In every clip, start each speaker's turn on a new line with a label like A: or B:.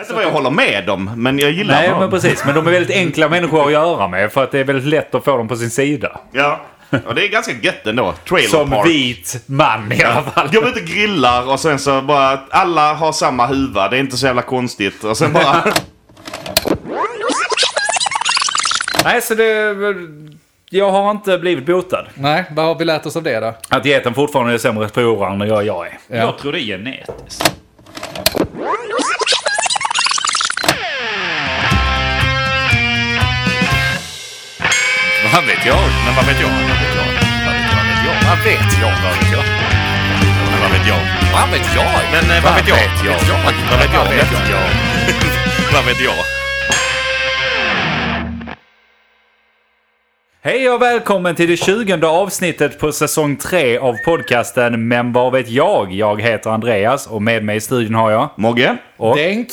A: Inte vad jag håller med dem, men jag gillar
B: Nej,
A: dem.
B: men precis. Men de är väldigt enkla människor att göra med för att det är väldigt lätt att få dem på sin sida.
A: Ja. Och det är ganska gött ändå. Trailer
B: Som
A: park.
B: vit man i alla fall.
A: Går ut och grillar och sen så bara... Alla har samma huva. Det är inte så jävla konstigt. Och sen bara...
B: Nej, så det... Jag har inte blivit botad.
C: Nej, vad har vi lärt oss av det då?
B: Att geten fortfarande är sämre förlorare än jag, jag är.
C: Ja.
D: Jag tror det är genetiskt.
A: Vad vet jag? Men vad vet jag? Vad vet jag? Vad vet jag? Vad vet jag? Men vad vet jag?
E: Vad vet jag?
A: Men eh, vad vet jag? Vad vet jag? Vad vet jag? Vad vet jag?
B: Hej och välkommen till det 20 avsnittet på säsong 3 av podcasten Men vad vet jag? Jag heter Andreas och med mig i studion har jag...
A: Mogge?
B: Och...
C: Denk.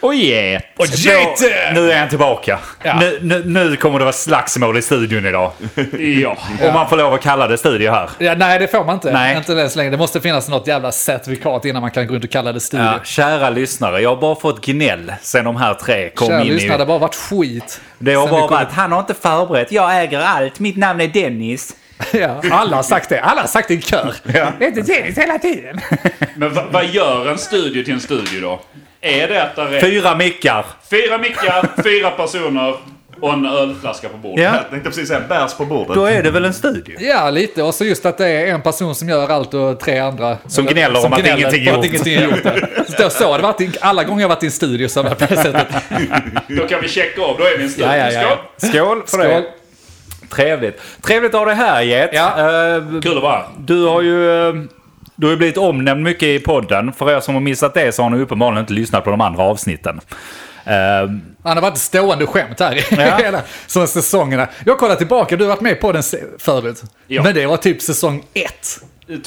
B: Och get! Och
C: gete!
B: Nu är han tillbaka.
C: Ja.
B: Nu, nu, nu kommer det vara slagsmål i studion idag. ja. Om man får lov att kalla det studio här.
C: Ja, nej, det får man inte.
B: Nej.
C: Inte ens längre. Det måste finnas något jävla certifikat innan man kan gå runt och kalla det studio.
B: Ja, kära lyssnare, jag har bara fått gnäll sen de här tre kom
C: Kära
B: in
C: lyssnare, det
B: i...
C: har bara varit skit.
B: Det har
C: Sen vi
B: bara
C: kom-
B: varit, han har inte förberett, jag äger allt, mitt namn är Dennis.
C: Ja, alla har sagt det. Alla har sagt det i kör. Det är inte Dennis hela tiden.
D: Men va- vad gör en studio till en studio då? Är det att där är
B: Fyra mickar.
D: fyra mickar, fyra personer och en ölflaska på bordet?
B: Ja.
A: Jag tänkte precis säga bärs på bordet.
B: Då är det väl en studio?
C: Ja, lite. Och så just att det är en person som gör allt och tre andra...
B: Som gnäller om att ingenting är
C: på
B: gjort.
C: att ingenting är gjort. ja. Så, så har det varit i- alla gånger jag varit i en studio så har det varit på det sättet.
D: Då kan vi checka av. Då är vi en studio.
B: Ja, ja, ja.
D: Skål!
B: Skål för
C: Skål.
B: det. Trevligt. Trevligt att ha dig här, Get.
C: Ja.
B: Eh,
D: Kul att vara här.
B: Du har ju... eh, Du har ju blivit omnämnd mycket i podden. För er som har missat det så har ni uppenbarligen inte lyssnat på de andra avsnitten. Eh,
C: Han har varit stående skämt här i
B: Ja.
C: hela som säsongerna. Jag kollar tillbaka, du har varit med på den se- förut.
D: Ja.
C: Men det var typ säsong ett.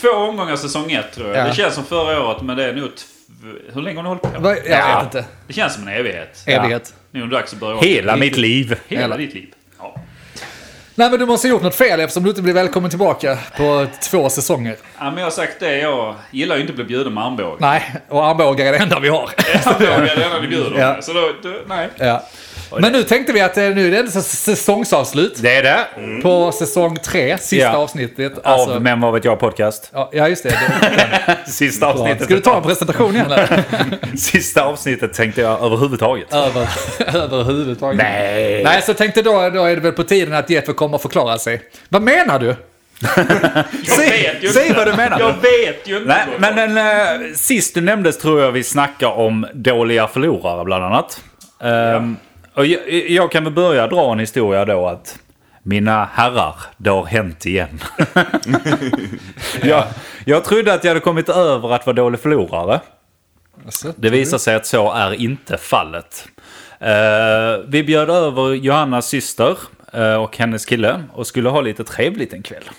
D: Två omgångar säsong ett tror jag.
C: Ja.
D: Det känns som förra året men det är nog... tv- Hur länge har ni hållit på?
C: Va- Jag
B: Ja.
C: vet inte.
D: Det känns som en evighet.
C: Evighet.
D: Nu är det dags att börja om.
B: hela mitt liv.
D: Hela,
C: Hela.
D: ditt liv. Ja.
C: Nej men du måste ha gjort något fel eftersom du inte blir välkommen tillbaka på två säsonger.
D: ja men jag har sagt det. Jag gillar ju inte att bli bjuden med armbåge.
C: Nej, och armbågar är det enda vi har.
D: Armbåge är det enda ni bjuder
C: Ja.
D: med. Så då, då, nej.
C: Ja. Men nu tänkte vi att eh, nu är det s- säsongsavslut
B: Det är det.
C: på säsong tre, sista
B: Mm. Ja.
C: avsnittet.
B: Av
C: Alltså,
B: Men vad vet jag podcast.
C: ja, ja, just det. det
B: Sista
C: är bra.
B: avsnittet.
C: Ska du ta en presentation igen? eller?
B: Sista avsnittet tänkte jag överhuvudtaget.
C: Över, överhuvudtaget.
B: Nej.
C: Nej, så tänkte då, då är det väl på tiden att Jeff kommer och förklara sig. Vad menar du?
D: Jag
B: Säg-
D: vet ju
B: säg
D: inte.
B: vad du menar.
D: Jag vet ju inte.
B: Nej, men den, eh, sist du nämndes tror jag vi snackar om dåliga förlorare bland annat. Ehm, och jag, jag kan väl börja dra en historia då att mina herrar, det har hänt igen. jag, jag trodde att jag hade kommit över att vara dålig förlorare.
C: Alltså,
B: Det visar sig att så är inte fallet. Eh, vi bjöd över Johannas syster eh, och hennes kille och skulle ha lite trevligt en kväll.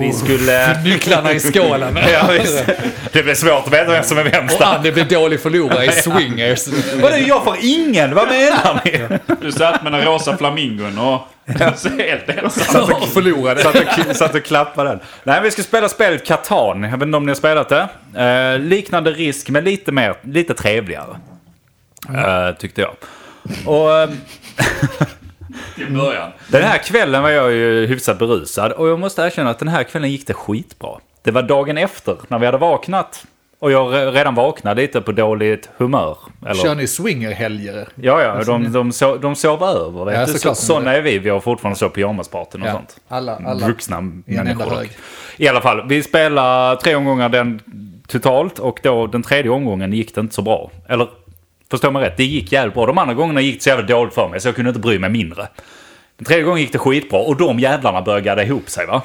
B: Vi skulle...
C: Nycklarna i skålen.
B: Ja, visst. Det blir svårt att veta vem som är vem.
C: Och Andy blir dålig förlorare i swingers.
B: Vadå, jag får ingen? Vad menar ni?
D: Du satt med den rosa flamingon och... Helt ensam.
C: Och förlorade.
B: Satt och, satt och klappade den. Nej, vi ska spela spelet Catan. Jag vet inte om ni har spelat det. Eh, liknande risk, men lite, mer, lite trevligare. Eh, tyckte jag. Och, eh,
D: I början.
B: den här kvällen var jag ju hyfsat berusad och jag måste erkänna att den här kvällen gick det skitbra. Det var dagen efter, när vi hade vaknat. Och jag re- redan vaknade lite på dåligt humör. Eller-
C: Kör ni swingerhelger?
B: Ja, ja, de, de, sov, de sov över. Vet
C: Alltså, Ja,
B: du? Så,
C: såklart.
B: sådana är vi. Vi har fortfarande så pyjamaspartyn och
C: Ja,
B: sånt.
C: alla- alla
B: Vuxna
C: i en enda
B: människor.
C: hög.
B: dock. I alla fall, vi spelar tre omgångar den totalt och då den tredje omgången gick det inte så bra. Eller, förstå mig rätt, det gick jävligt bra. De andra gångerna gick det så jävla dåligt för mig så jag kunde inte bry mig mindre. Den tredje gången gick det skitbra och de jävlarna började gadda ihop sig va?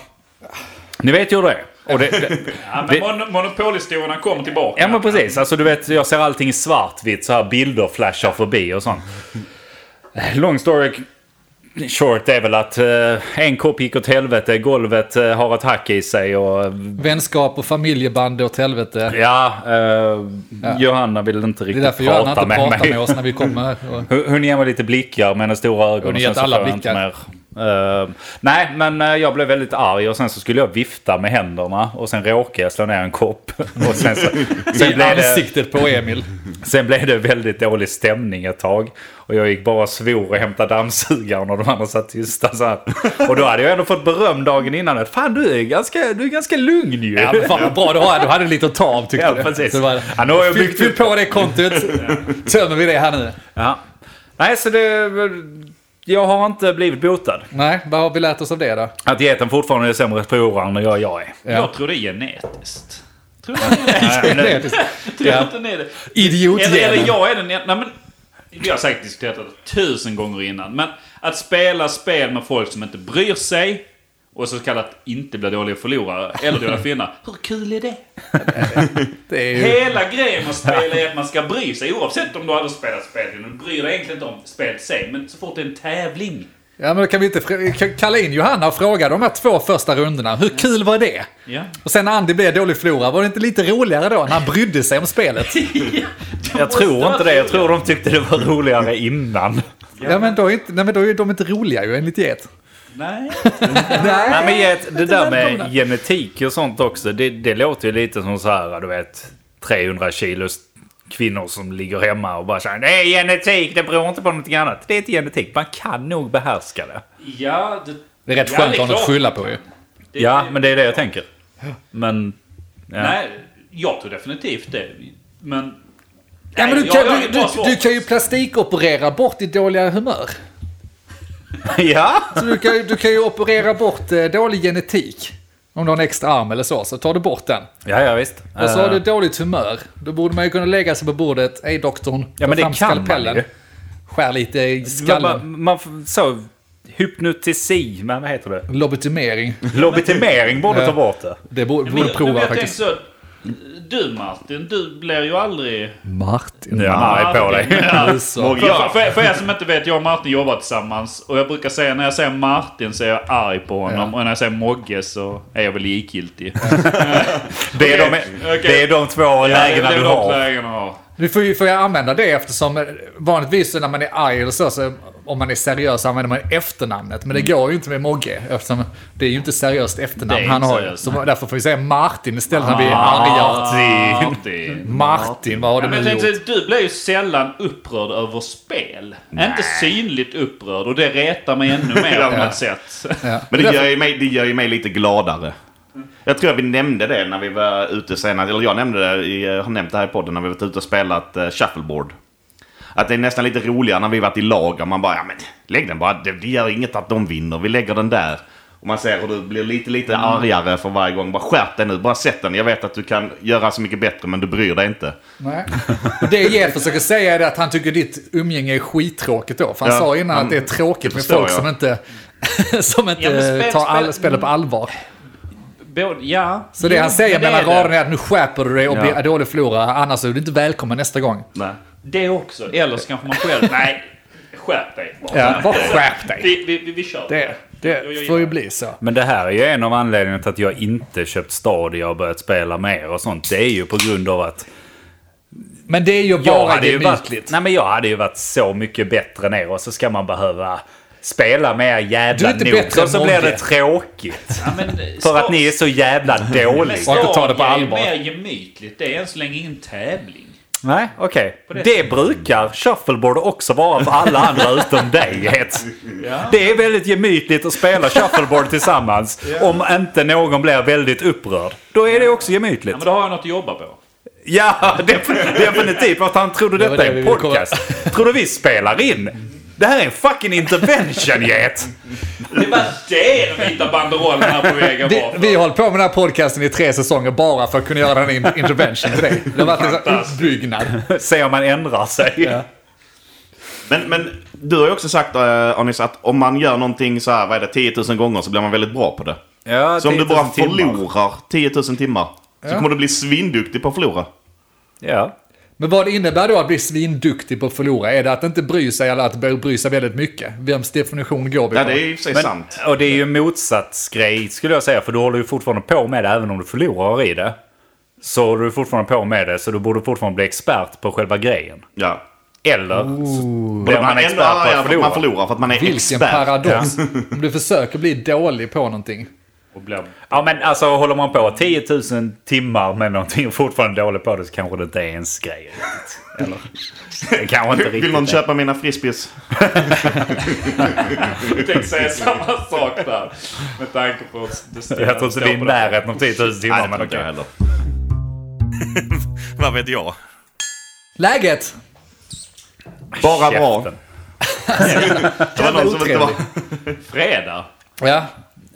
B: Ni vet ju hur det är. Och det, det,
D: Ja, men
B: det,
D: mon monopolhistorierna kom tillbaka.
B: Ja men precis, alltså du vet jag ser allting i svartvitt så här bilder flashar förbi och sånt. Long story short är väl att eh, en kopp gick åt helvete, golvet eh, har ett hack i sig och eh,
C: Vänskap och familjeband åt helvete.
B: ja, eh, Johanna vill inte
C: Det är
B: riktigt
C: därför
B: prata
C: Johanna inte
B: med
C: pratar
B: mig.
C: med oss när vi kommer. Och-
B: Hon hon ger mig lite blickar med hennes stora ögon
C: Hon har
B: och
C: gett
B: sen så
C: alla
B: får jag inte
C: blickar.
B: mer. Eh, nej, men eh, jag blev väldigt arg och sen så skulle jag vifta med händerna och sen råkade jag slå ner en kopp. Och sen, så, sen,
C: I
B: blev det,
C: ansiktet på Emil.
B: sen blev det väldigt dålig stämning ett tag. Och jag gick bara och svor och hämtade dammsugaren och de andra satt tysta så här. Och då hade jag ändå fått beröm dagen innan. Att, Fan, du är ganska, du är ganska lugn ju.
C: Ja, men fan vad bra du har. Du hade lite att ta av tyckte
B: Ja,
C: du.
B: precis.
C: Så det var-
B: Ja, nu har jag byggt
C: Fyll
B: upp-
C: på det kontot. Tömmer vi det här nu.
B: Ja. Nej, så det... Jag har inte blivit botad.
C: Nej, vad har vi lärt oss av det då?
B: Att geten fortfarande är sämre provrande än jag, jag är.
C: Ja.
D: Jag tror det är genetiskt. Tror jag inte det.
B: Nej, men det-
D: Tror jag inte det är det. Eller, eller
C: Idiotgenen.
D: jag är den Nej men. Vi har säkert diskuterat det tusen gånger innan. Men att spela spel med folk som inte bryr sig. Och så kallat inte bli dåliga förlorare. Eller dåliga finnar. Hur kul är det?
C: Det är ju...
D: Hela grejen med att spela är att man ska bry sig. Oavsett om du aldrig spelat spel. Du bryr dig egentligen inte om spelet i sig. Men så fort det är en tävling.
C: Ja, men då kan vi inte fr- k- kalla in Johanna och fråga de här två första rundorna. Hur kul var det?
D: Ja.
C: Och sen när Andy blev dålig förlorare, var det inte lite roligare då när han brydde sig om spelet?
B: Jag tror inte det. Jag tror de tyckte det var roligare innan.
C: Ja, men då är, inte, nej, men då är de inte roliga ju enligt get.
D: Nej.
B: Nej, men get, det där med
C: välkomna.
B: genetik och sånt också. Det, det låter ju lite som så här, du vet, 300 kilos kvinnor som ligger hemma och bara säger det är genetik, det beror inte på någonting annat. Det är inte genetik, man kan nog behärska det.
D: Ja, det,
C: Det är rätt
D: Ja,
C: skönt
D: det
C: att ha något
D: är
C: att
D: klart.
C: skylla på ju.
D: det-
B: Ja, men det är det jag tänker. Men... Ja.
D: Nej, jag tror definitivt det. Men...
C: Ja, men
D: Nej,
C: du,
D: jag-
C: kan,
D: jag
C: du,
D: är
C: du,
D: bara svår.
C: du kan ju plastikoperera bort ditt dåliga humör.
B: Ja!
C: Så du, kan, ju- du kan ju operera bort eh, dålig genetik. Om du har en extra arm eller så, så tar du bort den.
B: Ja, ja visst.
C: Och så har
B: Eh,
C: du dåligt humör. Då borde man ju kunna lägga sig på bordet. Hej doktorn,
B: Ja, men
C: ta
B: det
C: fram
B: kan man
C: skalpellen.
B: ju.
C: Skär lite i
B: Man,
C: skallen.
B: man, man f- så, hypnotisi, men vad heter det?
C: Lobotomering.
B: Lobotomering borde
C: Ja.
B: ta bort det.
C: Det borde,
D: Men,
C: borde prova
D: jag
C: faktiskt.
D: tänker så, du Martin, du blir ju aldrig...
C: Martin.
B: Nu är han arg på dig.
D: Ja.
C: Alltså.
D: För, för, för er som inte vet, jag och Martin jobbar tillsammans. Och jag brukar säga när jag säger Martin så är jag arg på honom.
C: Ja.
D: Och när jag säger Mogge så är jag väl likgiltig.
B: Det är,
D: Okej,
B: de,
D: okej.
B: det är de två lägena
D: Det är
B: du
D: de
B: har.
D: lägena jag har.
C: Nu får, ju- får jag använda det eftersom eh, vanligtvis så när man är arg eller så, så om man är seriös så använder man efternamnet. Men det går ju inte med Mogge eftersom det är ju inte seriöst
D: Mm. Det är
C: efternamn
D: inte
C: han har. ju.
D: seriöst,
C: Så därför får vi säga Martin istället när vi är arga.
B: Martin.
D: Martin.
C: Martin, vad har du
D: Ja, men
C: nu
D: jag
C: gjort?
D: tänkte, du blir ju sällan upprörd över spel. Inte synligt upprörd och det retar mig ännu mer på något sätt.
C: Ja.
E: Men det gör, ju mig, det gör ju mig lite gladare. Jag tror att vi nämnde det när vi var ute senast. Eller jag nämnde det, i, jag har nämnt det här i podden när vi varit ute och spelat eh, shuffleboard. Att det är nästan lite roligare när vi varit i lag. Och man bara, ja men lägg den bara. Det, det gör inget att de vinner. Vi lägger den där. Och man ser hur du blir lite, lite argare för varje gång. Bara skärp dig nu, bara sätt den. Jag vet att du kan göra så mycket bättre men du bryr dig inte.
C: Nej. Och Det Jeff försöker säga är att han tycker ditt umgänge är skittråkigt då. För han
E: Ja,
C: sa innan
E: han-
C: att det är tråkigt
E: det
C: med
E: förstår
C: folk
E: jag.
C: som inte, som inte
D: Ja, men spel-
C: tar all,
D: spel-
C: spelet på allvar.
D: Både, ja.
C: Så det
D: jo,
C: han säger
D: men det
C: mellan
D: är det.
C: raderna är att nu skärper du dig och
E: Ja.
C: blir dålig förlorare. Annars är du inte välkommen nästa gång.
E: Nej.
D: Det också. Eller så kanske man själv... Nej, skärp dig.
C: Ja, bara skärp dig.
D: Vi, vi, vi, vi kör.
C: Det, det får ju bli så.
B: Men det här är ju en av anledningarna till att jag inte köpt Stadia och börjat spela mer och sånt. Det är ju på grund av att
C: Men det är ju
B: jag
C: bara
B: hade ju varit,
C: gemytligt.
B: nej men jag hade ju varit så mycket bättre än er och så ska man behöva spela mer
C: Du
B: jävla
C: är inte
B: nog.
C: bättre
B: Och så
C: än
B: blir
C: Mogge.
B: det tråkigt.
D: Ja, men,
B: För att ni är så jävla dåliga.
C: Och inte tar det på allvar.
D: Det är mer gemytligt. Det är än så länge ingen tävling.
B: Nej, okej.
D: det
B: Det brukar shuffleboard också vara för alla andra utom dig. Het.
D: Ja.
B: Det är väldigt gemytligt att spela shuffleboard tillsammans. Om inte någon blir väldigt upprörd. Då är det också
D: Ja,
B: gemytligt.
D: men då har jag något att jobba på.
B: Ja, def- definitivt. För att han trodde
C: Det var
B: detta
C: det
B: är
C: vi
B: en
C: ville
B: podcast. Trodde vi spelar in. Det här är en fucking intervention, get.
D: Det var det de vita banderollerna här på vägen
C: Vi,
D: var.
C: vi har hållit på med den här podcasten i tre säsonger bara för att kunna göra en in- intervention till dig. Det har varit en sån
D: Fantastiskt.
C: uppbyggnad.
B: Se om man ändrar sig.
E: Men, men du har ju också sagt, eh, Anis, att om man gör någonting så här, vad är det, 10 000 gånger så blir man väldigt bra på det.
B: Ja,
E: Så om du
B: 10 000
E: bara
B: timmar.
E: förlorar 10 000 timmar så
C: Ja.
E: kommer du bli svinduktig på att förlora.
B: Ja.
C: Men vad det innebär då att bli svinduktig på att förlora? Är det att inte bry sig eller att bör- bry sig väldigt mycket? Vems definition går vi
E: Ja,
C: på?
E: det är i och för sig
B: Men,
E: sant.
B: och det är ju en motsatsgrej skulle jag säga. För du håller ju fortfarande på med det även om du förlorar i det. Så håller du fortfarande på med det. Så du borde fortfarande bli expert på själva grejen.
E: Ja.
B: Eller så
E: Man,
B: blir man
E: man är ändå
B: expert på
E: argare
B: att
E: för att man
B: förlora.
E: förlorar för att man är
C: Vilken
E: expert.
C: paradox. Om du försöker bli dålig på någonting.
D: Och blir...
B: Ja men alltså håller man på 10 000 timmar med någonting och fortfarande dålig på det så kanske det inte är ens grej. riktigt. Eller? Det kanske inte
E: Vill
B: riktigt
E: någon
B: är.
E: köpa mina frisbees?
D: Jag tänkte säga samma sak där. Med tanke på det stora-
B: Jag tror inte det är i
D: på det.
B: närheten av 10 000 timmar. men okej.
E: heller. Vad vet jag?
C: Läget?
E: Bara bra.
B: Käften.
E: Det var någon som inte var...
D: Fredag?
C: Ja.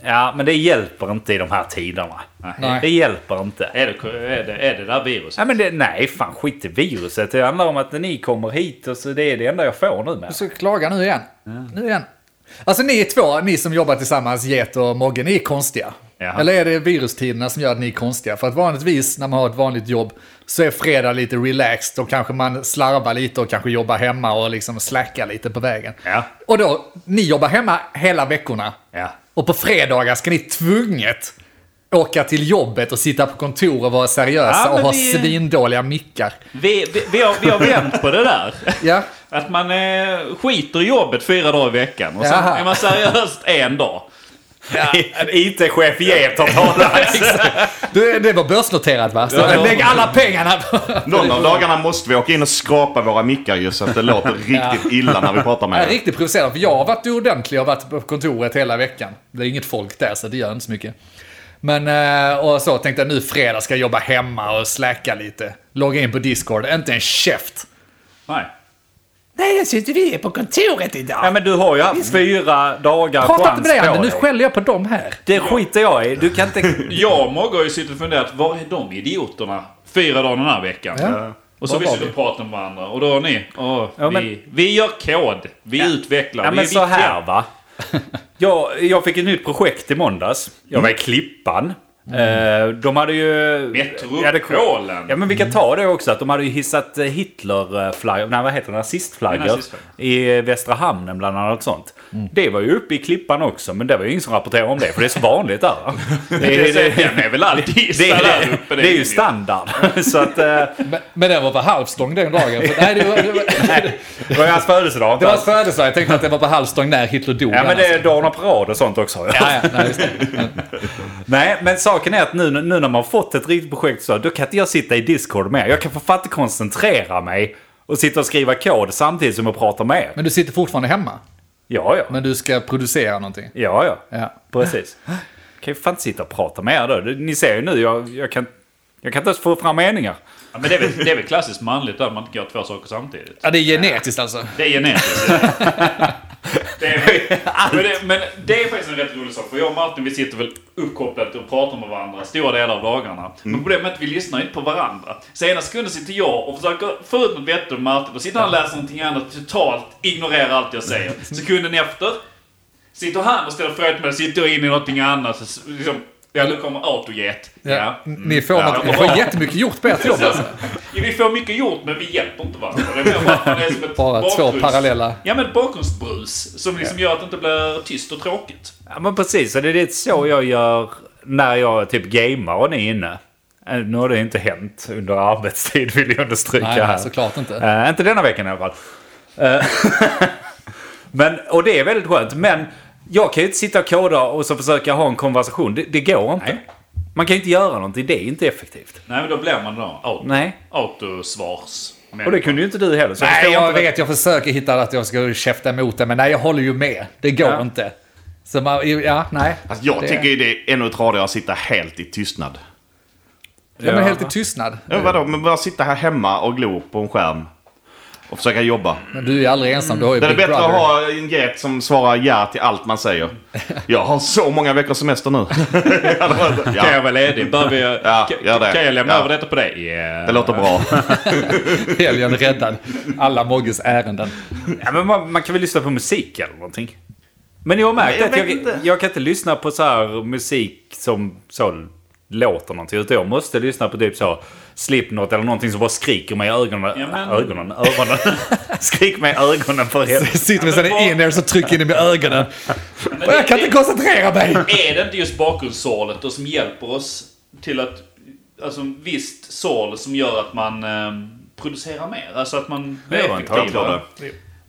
B: Ja men det hjälper inte i de här tiderna.
C: Nej.
B: Det hjälper inte.
D: Är det, är det, är det där viruset?
B: Ja, men det, nej, fan skit i viruset. Det handlar om att ni kommer hit och så det är det enda jag får nu med.
C: Du ska klaga nu igen. Nu igen. Alltså ni två, ni som jobbar tillsammans, Get och Mogge, ni är konstiga.
B: Jaha.
C: Eller är det virustiderna som gör att ni är konstiga? För att vanligtvis när man har ett vanligt jobb så är fredag lite relaxed och kanske man slarvar lite och kanske jobbar hemma och liksom slackar lite på vägen.
B: Ja.
C: Och då, ni jobbar hemma hela veckorna.
B: Ja.
C: Och på fredagar ska ni tvunget åka till jobbet och sitta på kontor och vara seriösa
D: Ja, men
C: och ha
D: vi-
C: svindåliga mickar.
D: Vi, vi, vi, har, vi har vänt på det där.
C: Ja.
D: Att man eh, skiter i jobbet fyra dagar i veckan och sen
C: Jaha.
D: är man seriöst en dag.
B: En IT-chef get har talat.
C: Du, det var börsnoterat va? Så
D: Ja.
C: lägg alla pengarna på...
E: Någon av dagarna måste vi åka in och skrapa våra mickar ju så att det låter riktigt illa när vi pratar
C: Jag
E: med
C: är
E: er.
C: riktigt provocerad, för jag har varit ordentlig och varit på kontoret hela veckan. Det är inget folk där, så det gör inte så mycket. Men, eh, och så tänkte jag nu fredag ska jag jobba hemma och släcka lite. Logga in på Discord, inte en käft.
D: Nej.
C: Nej, jag sitter vi är på kontoret idag.
B: Ja, men du har ju haft fyra dagar
C: Prata
B: chans
C: inte med dig,
B: på
C: Ander, nu
B: dig.
C: skäller jag på dem här.
B: Det skiter jag i. Du kan inte...
D: Jag och Mogge har ju suttit och funderat, var är de idioterna fyra dagar den här veckan?
C: Ja.
D: Och så
C: Var
D: vi
C: var
D: sitter
C: vi?
D: och pratar med varandra och då har ni, åh,
B: Ja, men-
D: vi, vi gör kod, vi utvecklar,
B: Ja,
D: vi
B: men
D: är
B: så
D: viktiga.
B: här va. Jag, jag fick ett nytt projekt i måndags. Jag
D: Mm.
B: var i Klippan. Eh, De hade ju...
D: Metropolen.
B: Ja, men vi kan ta
D: Mm.
B: det också. Att de hade ju hissat eh, Hitlerflaggor, nej vad heter det, nazistflaggor
D: Nazistflaggor. Mm.
B: i eh, Västra Hamnen bland annat. Sånt. Det var ju uppe i Klippan också, men det var ju ingen som rapporterade om det, för det är så vanligt där. va? Det, det,
D: Det,
B: det,
D: den är väl alltid
B: det,
D: hissad där uppe.
B: det är ju
D: inget.
B: standard. Så att, eh,
C: Men, men den var på halvstång den dagen. För, nej, det var, det var,
B: det var ju hans födelsedag. inte
C: det var
B: alls.
C: hans födelsedag, jag tänkte att den var på halvstång när Hitler dog.
B: Ja, men det är
C: annars.
B: dagen av parad och sånt också.
C: Ja, ja, nej, just det.
B: Nej, men saken är att nu, nu när man fått ett riktigt projekt så då kan inte jag sitta i Discord mer. Jag kan för fatta koncentrera mig och sitta och skriva kod samtidigt som jag pratar med er.
C: men du sitter fortfarande hemma,
B: Ja, ja.
C: men du ska producera någonting.
B: Ja, ja.
C: Ja.
B: Precis. Jag kan ju fan inte sitta och prata med er då. Ni ser ju nu, jag, jag, kan, jag kan inte ens få fram meningar.
D: Ja, men det är, väl, det är väl klassiskt manligt där man inte gör två saker samtidigt.
C: Ja, det är genetiskt alltså.
D: Det är genetiskt. det är, men, det, men det är faktiskt en rätt rolig sak. För jag och Martin vi sitter väl uppkopplade och pratar med varandra stora delar av dagarna. Men problemet är att vi lyssnar inte på varandra. Så ena sekunden sitter jag och försöker få ut något vettigt om Martin. Och sitter han och läser någonting annat och totalt ignorerar allt jag säger. Sekunden efter sitter han och ställer frågor till mig. Sitter jag in i någonting annat. Så, liksom, ja, nu kommer autojet.
C: Ja.
D: Ja.
C: Ni får,
D: Ja.
C: något, ni får jättemycket gjort på ert jobb alltså.
D: Ja, vi får mycket gjort men vi hjälper inte varandra. Det är mer bara att man är som ett
C: Bara två
D: bakgrunds-
C: parallella.
D: Ja men ett bakgrundsbrus som liksom gör att det inte blir tyst och tråkigt.
B: Ja, men precis. Och det är lite så jag gör när jag typ gamer och ni är inne. Eh, Nu har det inte hänt under arbetstid vill jag understryka
C: Nej, nej,
B: här.
C: såklart inte.
B: Eh, inte denna veckan i alla fall. Eh, men, och det är väldigt skönt. Men jag kan ju inte sitta och koda och så försöka ha en konversation. Det, det går inte. Man kan ju inte göra någonting. Det är inte effektivt.
D: Nej men då blir man då auto,
B: Nej.
D: autosvars.
B: Och det kunde ju inte du heller. Så
C: Nej,
B: förstår
C: jag
B: inte vad-
C: vet. Jag försöker hitta att jag ska käfta emot det, men nej, jag håller ju med. Det går
B: Ja.
C: inte. Så man, ja, nej.
E: Alltså, jag
C: det,
E: tycker ju det är ännu tradigare att sitta helt i tystnad.
C: Ja, men helt i tystnad.
E: Ja, vadå, men bara sitta här hemma och glo på en skärm och försöka jobba.
C: Men du är ju aldrig ensam, du har ju
E: Mm. Det är
C: Big
E: bättre
C: Brother.
E: att ha en get som svarar ja till allt man säger. Jag har så många veckors semester nu. Ja, det var-
D: Kan jag
E: ja,
D: vara ledig? Bör vi,
E: Ja,
D: ka-
E: gör det.
D: Kan jag lämna
E: Ja.
D: över detta på dig? Yeah.
E: det låter bra.
C: Helgen räddad. Alla Mogges ärenden.
B: Ja, men man, man kan väl lyssna på musik eller någonting. Men jag har märkt
E: Nej, jag
B: att jag,
E: vet inte.
B: jag kan inte lyssna på så här musik som så låter någonting. Utan jag måste lyssna på typ så Slipknot eller någonting som bara skriker mig i ögonen.
D: Ja, men-
B: Ögonen? Öronen? Skrik mig i ögonen för helvete.
C: Sitter med sina in-ears och trycker in dem i ögonen.
D: Men
C: Och jag kan
D: det-
C: inte koncentrera mig!
D: Är det inte just bakgrundssorlet då som hjälper oss till att... Alltså en visst sorl som gör att man... ehm, producera mer. Alltså att man
B: Det var en
E: tanke.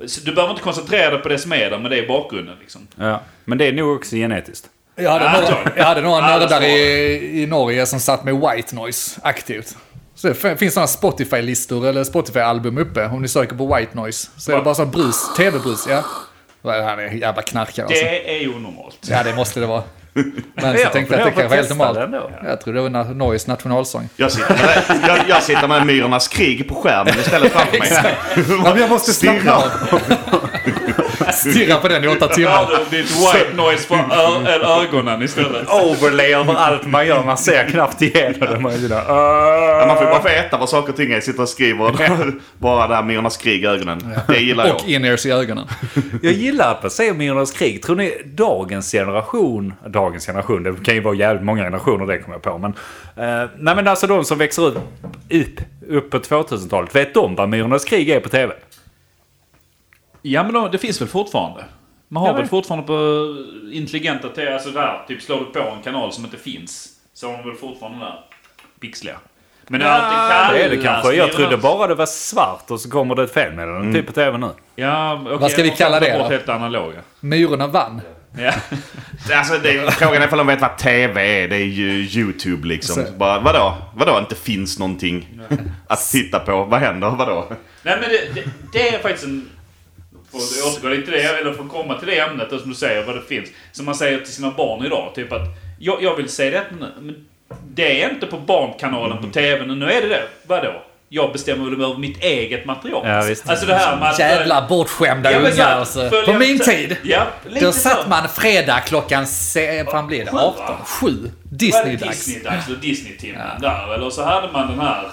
D: Så Du behöver inte koncentrera dig på det som är där, men det är bakgrunden liksom.
B: Ja. Men det är nog också genetiskt.
C: Jag hade,
D: Ja,
C: några,
D: antagligen.
C: jag hade några
D: Ja, det
C: nördar
D: står
C: i, i Norge som satt med white noise aktivt. Så det f- finns sådana Spotify-listor eller Spotify-album uppe. Om ni söker på white noise så är det bara sån brus, tv-brus. Ja. Vad är Han är jävla knarkare alltså.
D: Det är ju onormalt.
C: Ja, det måste det vara. Men så tänkte jag att det kanske var helt normalt. Jag tror det var na- Norges nationalsång.
E: Jag sitter, med, jag, jag sitter med Myrornas krig på skärmen istället framför mig.
C: Ja, men jag måste
E: Stirra.
C: slappna av. Stirra på den i åtta
D: Hör
C: timmar.
D: du ditt white noise från ö- eller ögonen istället.
B: Overlay över allt man gör. Man ser knappt igenom det. Man är sådär, "Ah."
E: Ja, Man får ju bara veta vad saker och ting är. Jag sitter och skriver bara där Myrornas krig i ögonen. Det gillar jag.
C: Och in-ears i ögonen.
B: Jag gillar att se Myrornas krig. Tror ni dagens generation, dagens generation, det kan ju vara jävligt många generationer det kommer jag på. Men, eh, nej men alltså de som växer upp, upp, upp på 2000-talet, vet de vad Myrornas krig är på tv?
D: Ja, men då, det finns väl fortfarande? Man har
B: Ja,
D: väl
B: men-
D: fortfarande på intelligenta tv, alltså där, typ slår du på en kanal som inte finns, så har de väl fortfarande där. Pixliga. Men det är alltid kallas
B: det är det kanske. Jag
D: Myrornas-
B: trodde bara det var svart och så kommer det ett felmeddelande typ på tv nu.
D: Ja, okay,
C: Vad ska vi kalla det då?
D: Helt analoga.
C: Myrorna vann.
D: Ja.
E: Alltså, det är, frågan är ifall de vet vad TV är. Det är ju YouTube liksom.
C: Så-
E: Bara, vadå? Vadå inte finns någonting att titta på? Vad händer? Vadå?
D: Nej, men det, det, det är faktiskt en... För att återgå lite till det, eller för att komma till det ämnet, och som du säger, vad det finns. Som man säger till sina barn idag, typ att jag, jag vill säga det, men- men det är inte på barnkanalen
B: Mm.
D: på TV, nu nu är det det. Vadå? Jag bestämmer väl över mitt eget material.
B: Ja, visst.
D: Alltså det här med att...
C: Jävla bortskämda
D: Ja, men så
C: ungar
D: här,
C: alltså.
D: följa-
C: På min tid.
D: Ja, lite
C: Då
D: så.
C: satt man fredag klockan, se, fan blir det?
D: Sju,
C: 18?
D: va?
C: 7?
D: Var det
C: Disney-dags.
D: Disney-dags eller Disney-timmen där. Eller så hade man den här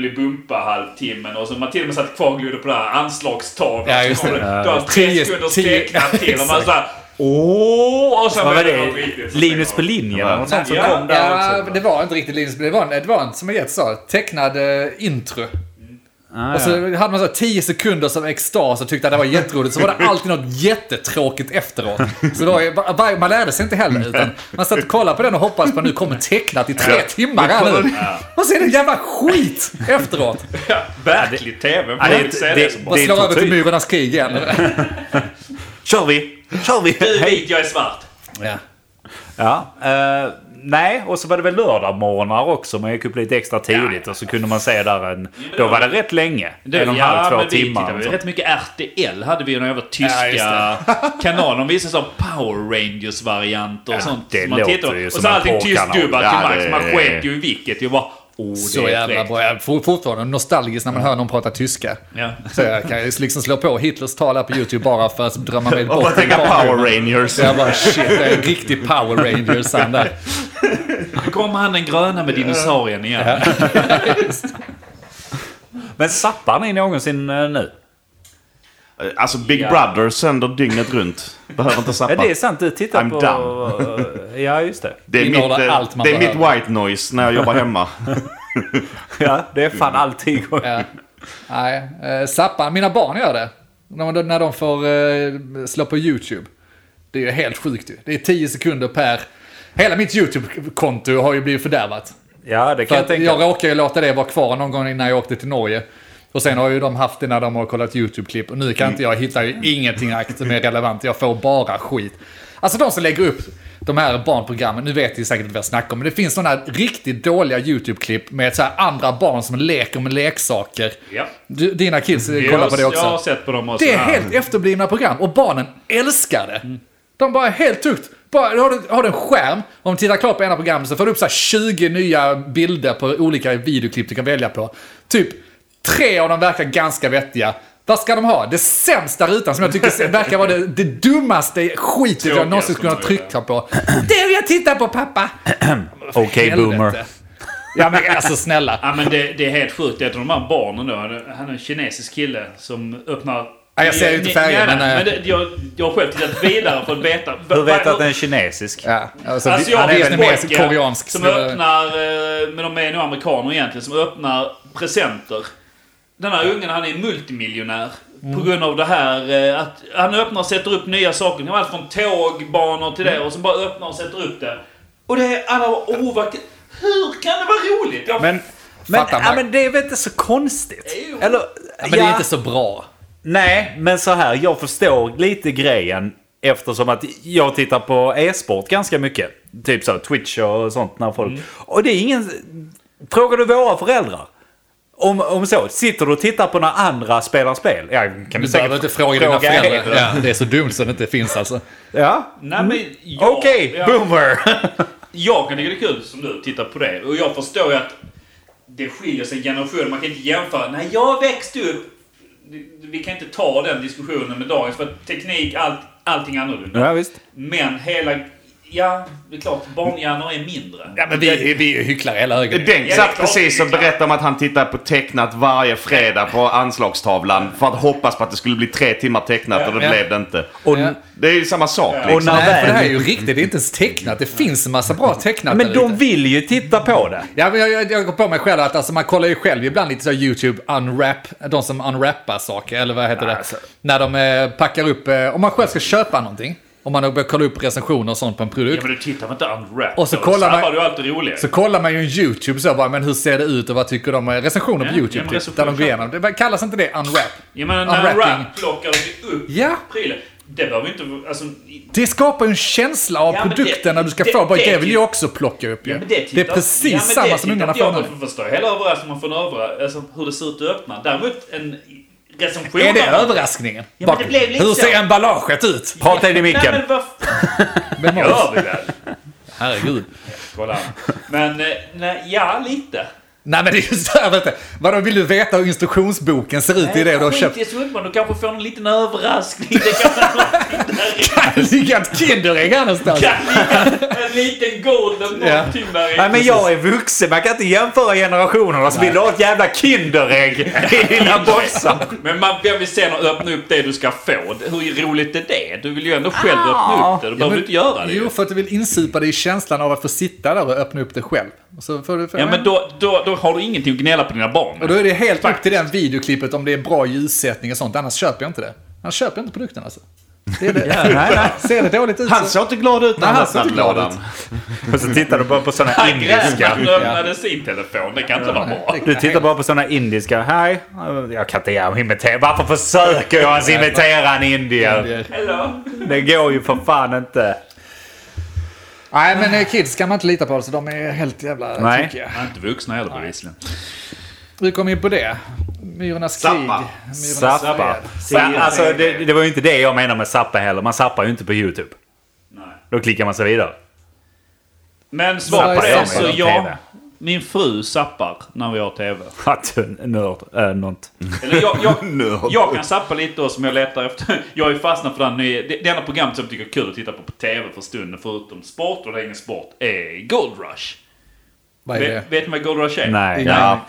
D: Bullybumpa-halvtimmen och så man till och med satt kvar och glodde på det här anslagstavlan.
C: Ja, just det.
D: Då har
C: Tio-
D: tre sekunders
C: tio-
D: tecknat till och man
C: exakt.
D: såhär Åh! Och sen
B: Vad var
D: blev något
B: det?
D: riktigt som
B: Linus
D: var-
B: på linjen eller något sånt som
D: Ja.
B: kom där
C: Ja,
B: också.
C: det var inte riktigt Linus, men det var en, det var en som jag sa, tecknad eh, intro.
B: Ah,
C: Och så
B: ja.
C: hade man så här 10 sekunder som extas och tyckte att det var jätteroligt. Så var det alltid något jättetråkigt efteråt. Så då, var- var- man lärde sig inte heller. Utan man satt och kollade på den och hoppades på att nu kommer tecknat i tre timmar här nu. Och så är det jävla skit efteråt.
D: Ja, Verklig TV.
B: Ja,
D: får jag inte säga det som
B: det-
D: bara.
C: Och
B: är
C: slår över till
B: tortyr.
C: myrornas krig igen.
B: Kör vi! Kör vi!
D: Du är vit, jag är svart.
C: Ja.
B: Ja, eh, nej, och så var det väl lördagmorgnar också. Man gick upp lite extra tidigt och så kunde man se där en... Då var det rätt länge. en och en halv, två timmar. alltså.
D: vi
B: och sånt.
D: rätt mycket RTL hade vi när jag var tyska
C: Ja,
D: kanaler. De visade så här Power Rangers-varianter och sånt.
B: det
D: som man
B: låter
D: tittade på.
B: ju
D: Och
B: som
D: så
B: en
D: allting
B: porrkanal.
D: tystgubbar
E: Ja,
D: till max.
E: det
D: Man
E: är-
D: sket ju i vilket. Jag bara... Oh,
C: Så
D: det är
C: jävla
D: fräckt.
C: bra. Jag är for- fortfarande nostalgisk när man hör någon prata tyska.
D: Ja.
C: Så jag kan ju liksom slå på Hitlers tal här på YouTube bara för att drömma mig
E: Och
C: bort.
E: bara tänka Power Rangers.
C: Så jag bara shit, det är en riktig power rangers han där.
D: Nu kommer han den gröna med dinosaurien igen.
B: Men zappar ni någonsin eh, nu?
E: Alltså Big
D: Ja.
E: Brother sänder dygnet runt. Behöver inte sappa.
B: Ja, det är sant. Du tittar
E: I'm
B: på... Ja, just det.
E: Det är, mitt,
C: Innehåller
E: eh,
C: allt man
E: det är mitt
C: behöver.
E: white noise när jag jobbar hemma.
B: Ja, det är fan allting.
C: Ja. Nej, eh, Zappan, mina barn gör det. När de, när de får eh, slå på YouTube. Det är ju helt sjukt ju. Det är 10 sekunder per... Hela mitt YouTube-konto har ju blivit fördärvat.
B: Ja, det
C: För
B: kan jag
C: jag,
B: tänka.
C: jag råkade ju låta det vara kvar någon gång innan jag åkte till Norge. Och sen har ju de haft det när de har kollat YouTube-klipp. Och nu
B: Mm.
C: kan inte jag hitta ju ingenting akt som är relevant. Jag får bara skit. Alltså de som lägger upp de här barnprogrammen, nu vet ni säkert vad jag snackar om, men det finns sådana här riktigt dåliga YouTube-klipp med så här andra barn som leker med leksaker.
D: Ja.
C: Du, dina kids eh, kollar på det också.
D: Jag har sett på dem också.
C: Det är helt efterblivna program och barnen älskar det.
D: Mm.
C: De bara är helt tukt. Bara, har, du, har du en skärm, om du tittar klart på ena programmet så får du upp så här 20 nya bilder på olika videoklipp du kan välja på. Typ tre av dem verkar ganska vettiga. Vad ska de ha? Det sämsta rutan som jag tycker verkar vara det, det dummaste skitet jag
D: Tråkiga
C: någonsin
D: som
C: skulle ha
D: de gjorde.
C: trycka på. Det vill jag titta på pappa!
B: Okej, boomer.
C: Helvete. Ja men alltså snälla.
D: Ja, men det, det är helt sjukt. Det är de här barnen då. Han är- Han är en kinesisk kille som öppnar...
C: Ja, jag ser ju inte färgen,
D: Nej, nej,
C: men, eh.
D: men det, jag, jag har själv tittat vidare för att veta...
B: Du vet att den är kinesisk?
C: Ja, alltså,
D: Alltså jag
C: han
D: vet
C: är
D: en
C: vietnamesisk,
D: pojke
C: koreansk.
D: Som
C: snubbe.
D: öppnar, eh, men de är nog amerikaner egentligen, som öppnar presenter. Den här ungen han är multimiljonär. På grund av det här eh, att han öppnar och sätter upp nya saker. Det var allt från tågbanor till det och så bara öppnar och sätter upp det. Och det är alla bara, åh vad kul." Hur kan det vara roligt? Jag
B: Men Men,
C: Fattar
B: ja,
C: man.
B: men det är väl inte så konstigt? Eller,
C: Ja, men det är inte så bra.
B: Nej, men så här, jag förstår lite grejen eftersom att jag tittar på e-sport ganska mycket. Typ så här, Twitch och sånt när folk...
C: Mm.
B: Och det är ingen... Frågar du våra föräldrar? Om, om så, sitter du och tittar på när andra spelar spel? Ja, kan
C: Du
B: du
C: behöver
B: säkert
C: inte fråga dina
B: er.
C: föräldrar. Ja, det är så dumt så det inte finns alltså.
B: Ja.
D: Nej, men jag,
B: Okej,
D: jag,
B: boomer!
D: jag kan tycka det är kul som du tittar på det. Och jag förstår ju att det skiljer sig generationer. Man kan inte jämföra. Nej, jag växte upp. Vi kan inte ta den diskussionen med dagens. För att teknik, allt, allting är annorlunda.
B: ja, visst.
D: Men hela... Ja, det är klart. Barnhjärnor är mindre.
C: Ja, men vi, vi är hycklare hela högen.
E: Denk satt
D: klart,
E: precis
D: det
E: och
D: är klart.
E: berättade om att han tittar på tecknat varje fredag på anslagstavlan för att hoppas på att det skulle bli tre timmar tecknat och det
C: Ja.
E: blev det inte.
B: Och,
C: Ja.
E: Det är ju samma sak
B: och
E: liksom.
B: när
C: Nej, för det här är
B: väl...
C: ju riktigt. Det är inte ens tecknat. Det finns en massa bra tecknat
B: Men
C: där
B: de
C: ute.
B: vill ju titta på det.
C: Ja, men jag, jag, jag går på mig själv att alltså, man kollar ju själv ibland lite så här YouTube unwrap, de som unwrappar saker, eller vad heter det? När de eh, packar upp, eh, om man själv ska köpa någonting, om man börjar kolla upp recensioner och sånt på en produkt.
D: Ja, men du tittar väl inte unwrapped?
C: Och så
D: då?
C: kollar man-
D: Snabbar du allt det roliga.
C: Så kollar man ju en YouTube så bara, men hur ser det ut och vad tycker de? Recensioner på
D: Ja, ja,
C: YouTube,
D: men
C: typ, där de
D: recensioner.
C: går igenom. Det kallas inte det unwrap?
D: Ja, men när
C: Unwrapping.
D: unwrap plockar du upp
C: Ja.
D: prylen. Det behöver ju inte... Alltså, i-
C: Det skapar ju en känsla av
D: Ja, men det-
C: produkten när du ska
D: det-
C: få. Bara,
D: det-
C: det vill jag också plocka upp ju.
D: ja, men
C: det,
D: tittar-
C: är precis
D: ja, men
C: samma
D: det
C: som
D: tittar
C: ungarna
D: inte
C: får
D: jag
C: nu.
D: på, för förstår hela överraskningen man får en överra- alltså, hur det ser ut att öppna. Däremot en recension...
C: Är det
D: av-
C: överraskningen?
D: Ja, men det blev lite
C: Hur ser
D: så.
C: emballaget ut?
B: Prata in i
D: Nej,
B: micken.
D: men vad
C: Men,
D: gör vi väl?
C: herregud.
D: Kolla. Men, eh, nej, ja, lite.
C: Nej men det är ju såhär, vänta. Vadå, vill du veta hur instruktionsboken ser ut i det du har
D: Skit
C: köpt?
D: i summan, du kanske får en liten överraskning. Det kan vara någonting där i.
C: Ligga ett Kinderägg här någonstans.
D: Kan ligga En liten golden
C: Ja.
D: någonting där i.
B: Nej men jag är vuxen, man kan inte jämföra generationerna. Så vill du ha ett jävla Kinderägg i dina boxar?
D: Men man, vem vill sen öppna upp det du ska få? Hur roligt är det? Du vill ju ändå själv öppna upp det. Då behöver du inte göra det.
C: Ah. Jo, för att du vill insupa dig i känslan av att få sitta där och öppna upp det själv. Och så får du,
D: Ja, men då, då, då har du ingenting att gnälla på dina barn.
C: och då är det helt upp till den videoklippet om det är bra ljussättning och sånt. Annars köper jag inte det. Annars köper jag inte produkten alltså. Det är det.
B: nej, nej.
C: Ser det dåligt ut
E: Han
C: så...
E: såg inte glad ut när
C: Nej,
E: han
C: han såg
E: öppnade
C: inte glad
E: lådan.
B: Och så tittar du bara på sådana
D: Han grät
B: indiska.
D: när han öppnade sin telefon. Det kan inte vara bra.
B: Du tittar bara på sådana indiska. Hej, jag kan inte gärna imitera. Varför försöker jag ens imitera en indier?
D: Eller?
B: Det går ju för fan inte.
C: Nej, men eh, kids kan man inte lita på. Så de är helt jävla
B: Nej.
C: tokiga.
D: Han är inte vuxna heller bevisligen.
C: Hur kom vi in på det? Myrornas krig.
E: Zappa.
C: Myrornas
B: Zappa.
C: fred.
B: Men, alltså, det, det var ju inte det jag menade med zappa heller. Man zappar ju inte på YouTube.
D: Nej.
B: Då klickar man sig vidare.
D: Men svar på
C: Zappar
D: det.
C: jag
D: Så
B: med
D: jag,
B: TV?
D: min fru zappar när vi har TV.
B: Att du är nörd, äh, nånt.
D: Eller jag, jag, jag kan zappa lite då som jag letar efter. Jag är fastnad för den nya, det, det enda programmet som jag tycker är kul att titta på på TV för stunden, förutom sport, och det är ingen sport, är Gold Rush.
C: Vad är det?
D: Vet, vet ni vad Gold Rush är?
B: Nej.
C: Ja.
E: Ja.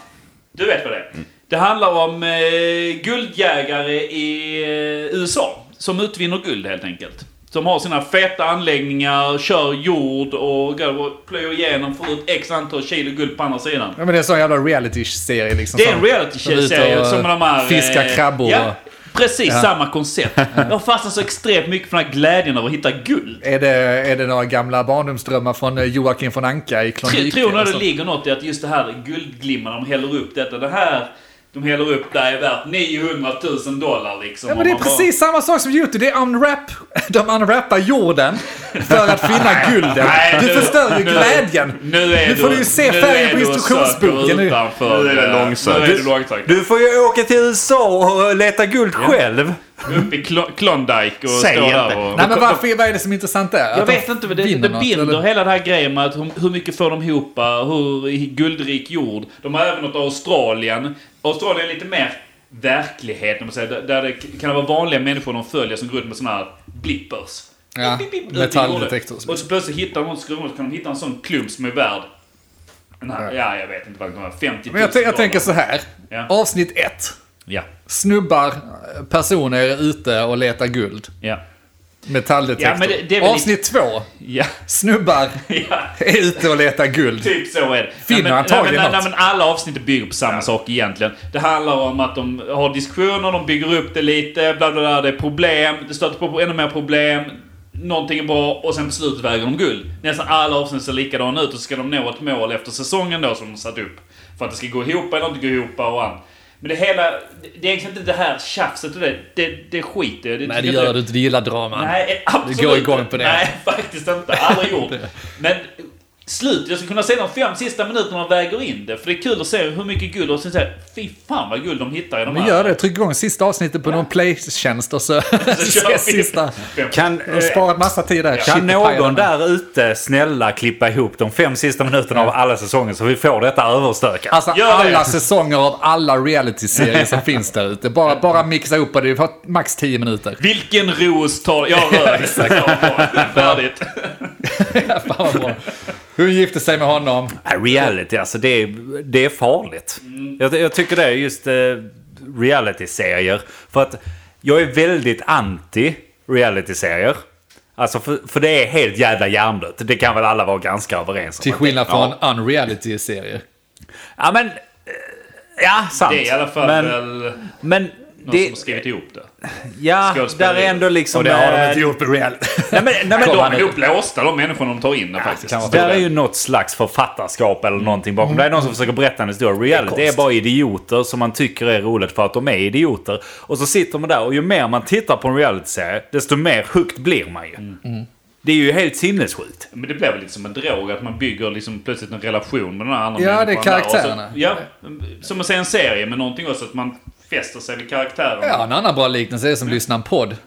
D: Du vet vad det
C: Mm.
D: är. Det handlar om eh, guldjägare i eh, USA som utvinner guld helt enkelt. Som har sina feta anläggningar, kör jord och går och plöjer igenom, får ut x antal kilo guld på andra sidan.
C: Ja, men det är en sån jävla reality-serie liksom.
D: Det är en
C: som- som är ute
D: reality-serie
C: och,
D: som de här... eh,
C: Fiskar krabbor.
D: Ja, precis samma koncept. Jag fastnar så extremt mycket för den här glädjen av att hitta guld.
C: Är, det, är det några gamla barndomsdrömmar från eh, Joakim von Anka i
D: Tr-
C: Klondike?
D: Tror ni
C: och
D: det
C: sånt?
D: ligger något i att just det här guldglimman, de häller upp detta. Det här de häller upp där är värt 900 000 dollar liksom.
C: Ja,
D: Och
C: men det är
D: man bara-
C: precis samma sak som YouTube. Det är unwrap. De unwrappar jorden för att finna guldet.
D: Nej,
C: Du
D: nu-
C: förstör ju
D: nu-
C: glädjen.
D: Nu, är
C: Nu får du ju se
D: nu
C: färgen
D: är
C: på
D: du och
C: instruktionsboken
D: söker
C: nu.
D: utanför,
E: Nu är det
D: eh,
E: långsökt.
D: Nu är det långsökt.
B: Du får ju åka till USA och leta guld själv.
D: Upp i Klo- Klondike och
E: Säg
D: stå där
E: inte.
D: och...
C: Nej, men varför, vad är det som är intressant där?
D: Jag vet inte, men det, det binder
C: eller?
D: hela den här grejen med att hur, hur mycket får de ihop, eh, hur i guldrik jord. De har även något av Australien. Australien är lite mer verklighet, om man säger, där- där det kan vara vanliga människor de följer som går ut med sådana här blippers.
C: Ja,
D: Bip, bip, bip, ut i
C: metalldetektor.
D: jorden. Och så plötsligt hittar de någon skruv och så kan de hitta en sån klump som är värd, den här, ja jag vet inte vad den är, 50 000
C: Men jag, tän- jag tänker så här.
D: Ja.
C: Avsnitt ett.
D: Ja,
C: Snubbar, eh, personer ute och letar guld.
D: ja,
C: Metalldetektor.
D: Ja, men det- det är väl
C: Avsnitt två.
D: ja.
C: Snubbar
D: ja.
C: är ute och letar guld.
D: Typ så är det.
C: Finner
D: Nej, men-
C: antagligen
D: nej, men-
C: något.
D: nej, men Alla avsnitt bygger på samma sak egentligen. Det handlar om att de har diskussioner, de bygger upp det lite, bla bla bla, det är problem, det stöter på ännu mer problem. Någonting är bra och sen på slutet väger de guld. Nästan alla avsnitt ser likadana ut och så ska de nå ett mål efter säsongen då som de satt upp. För att det ska gå ihop eller inte gå ihop och an. Men det hela... Det är egentligen inte det här tjafset och det. Det, det skiter jag i.
C: Nej, det
D: tycker
C: gör
D: inte-
C: du inte. Du gillar draman.
D: Nej, absolut
C: Du går igång på det.
D: Nej, faktiskt inte. Aldrig gjort. Men slut, jag skulle kunna se de fem sista minuterna väger in det. För det är kul att se hur mycket guld och sen säga, fy fan vad guld de hittar i de
C: Men
D: här.
C: gör det. Tryck igång sista avsnittet på någon playtjänst och så
D: Så kör vi.
C: ses sista.
B: Kan,
C: Du har
B: eh,
C: sparat massa tid där. Shit,
B: kan
C: det pajar
B: någon
C: den.
B: där ute snälla klippa ihop de fem sista minuterna av alla säsonger så vi får detta överstökat?
C: Alltså
D: Gör det.
C: alla säsonger av alla reality-serier som finns där ute. Bara, bara mixa upp och det har max 10 minuter.
D: Vilken ros tar... Ja, rör. Exakt. Färdigt.
C: Fan vad bra. Hon gifte sig med honom.
B: Ja, Reality, alltså det är, det är farligt.
C: Mm.
B: Jag, jag tycker det är just eh, reality-serier. För att jag är väldigt anti reality-serier. Alltså för, för det är helt jävla hjärndött. Det kan väl alla vara ganska överens om.
C: Till
B: att
C: skillnad
B: det, ja.
C: från unreality-serier.
B: Ja men... eh, Ja, sant.
D: Det är i alla fall
B: men,
C: eh,
D: väl någon
B: men
D: som
B: det,
D: har skrivit ihop det.
B: ja, där
D: skådespelare.
B: är ändå liksom...
C: Och det har de
B: eh,
C: inte gjort med reality.
B: Nej men, nej, men
D: De
B: de,
D: är nog blåsta de människorna de tar in där, faktiskt.
C: kan vara
B: Där är ju något slags författarskap eller någonting bakom. Det är någon som försöker berätta en historia. Reality det är bara idioter som man tycker är roligt för att de är idioter. Och så sitter man där och ju mer man tittar på en realityserie, desto mer högt blir man ju.
C: Mm.
B: Det är ju helt sinnessjukt.
D: Men det blir väl lite som en drog att man bygger liksom plötsligt en relation med den här andra
C: Ja, det är
D: människan där. Och så-
C: karaktärerna.
D: Ja, som att se en serie med någonting också. Att man fäster sig vid karaktärerna.
C: Ja, en annan bra liknelse är som att lyssna på en podd.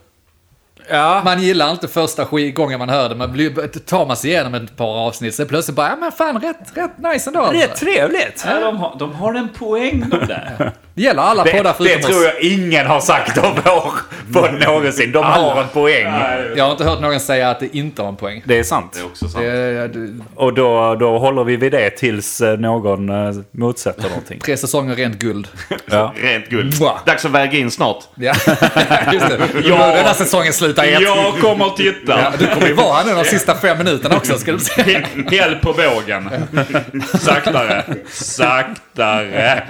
B: Ja.
C: Man gillar inte första sk- gången man hör det, men blir- tar man sig igenom ett par avsnitt så plötsligt bara, ja men fan rätt, rätt nice ändå. alltså.
B: Det är trevligt.
D: Ja, de, har, de har en poäng de där.
C: Det gäller alla
B: Det,
C: poddar
B: det
C: förutom
B: tror
C: oss.
B: jag ingen har sagt om vår podd någonsin. De har en poäng.
D: Nej,
C: Jag har inte hört någon säga att det inte har en poäng.
B: Det är sant.
E: Det är också sant.
C: Det är, det,
B: Och då, då håller vi vid det tills eh, någon eh, motsätter någonting.
C: tre säsonger rent guld.
E: Rent guld.
C: Mwah.
E: Dags att väga in snart.
C: Ja, just det. Ja. Den här säsongen slutar i ett.
D: jag kommer att
C: Ja,
D: titta.
C: du kommer ju vara här nu de sista fem minuterna också, ska du se.
D: Hä- Häll på vågen. Saktare. Saktare.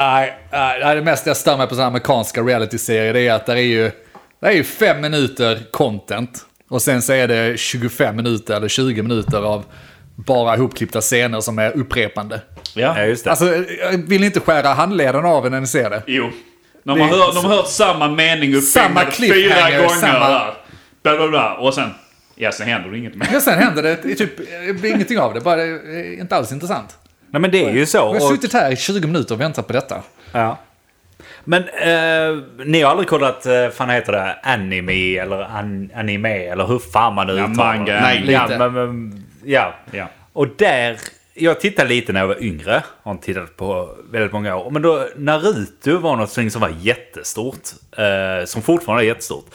C: Nej, nej, nej, det mesta jag stör mig på sådana amerikanska reality-serier det är att det är ju, det är ju fem minuter content. Och sen så är det 25 minuter eller 20 minuter av bara ihopklippta scener som är upprepande.
B: Ja, just det.
C: Alltså, jag vill inte skära handleden av en när ni ser det.
D: Jo. De har,
C: Det är
D: hört, de har hört samma mening
C: Samma
D: uppbyggnad fyra
C: cliffhanger,
D: gånger.
C: samma-
D: Där. Bla, bla, bla. Och sen... Ja, sen händer det inget mer.
C: Men sen händer det, det är typ, det blir ingenting av det, bara det är inte alls intressant.
B: Nej men det är ju så.
C: Jag
B: Och-
C: har suttit här i 20 minuter och väntat på detta.
B: Ja. Men eh, ni har aldrig kollat, eh, fan heter det, anime eller an, anime eller hur fan man nu uttalar
D: manga.
B: det?
E: Nej,
B: ja,
C: lite.
B: men, men, ja.
D: Ja.
B: Och där, jag tittade lite när jag var yngre, har inte tittat på väldigt många år. Men då Naruto var något som var jättestort, eh, som fortfarande är jättestort.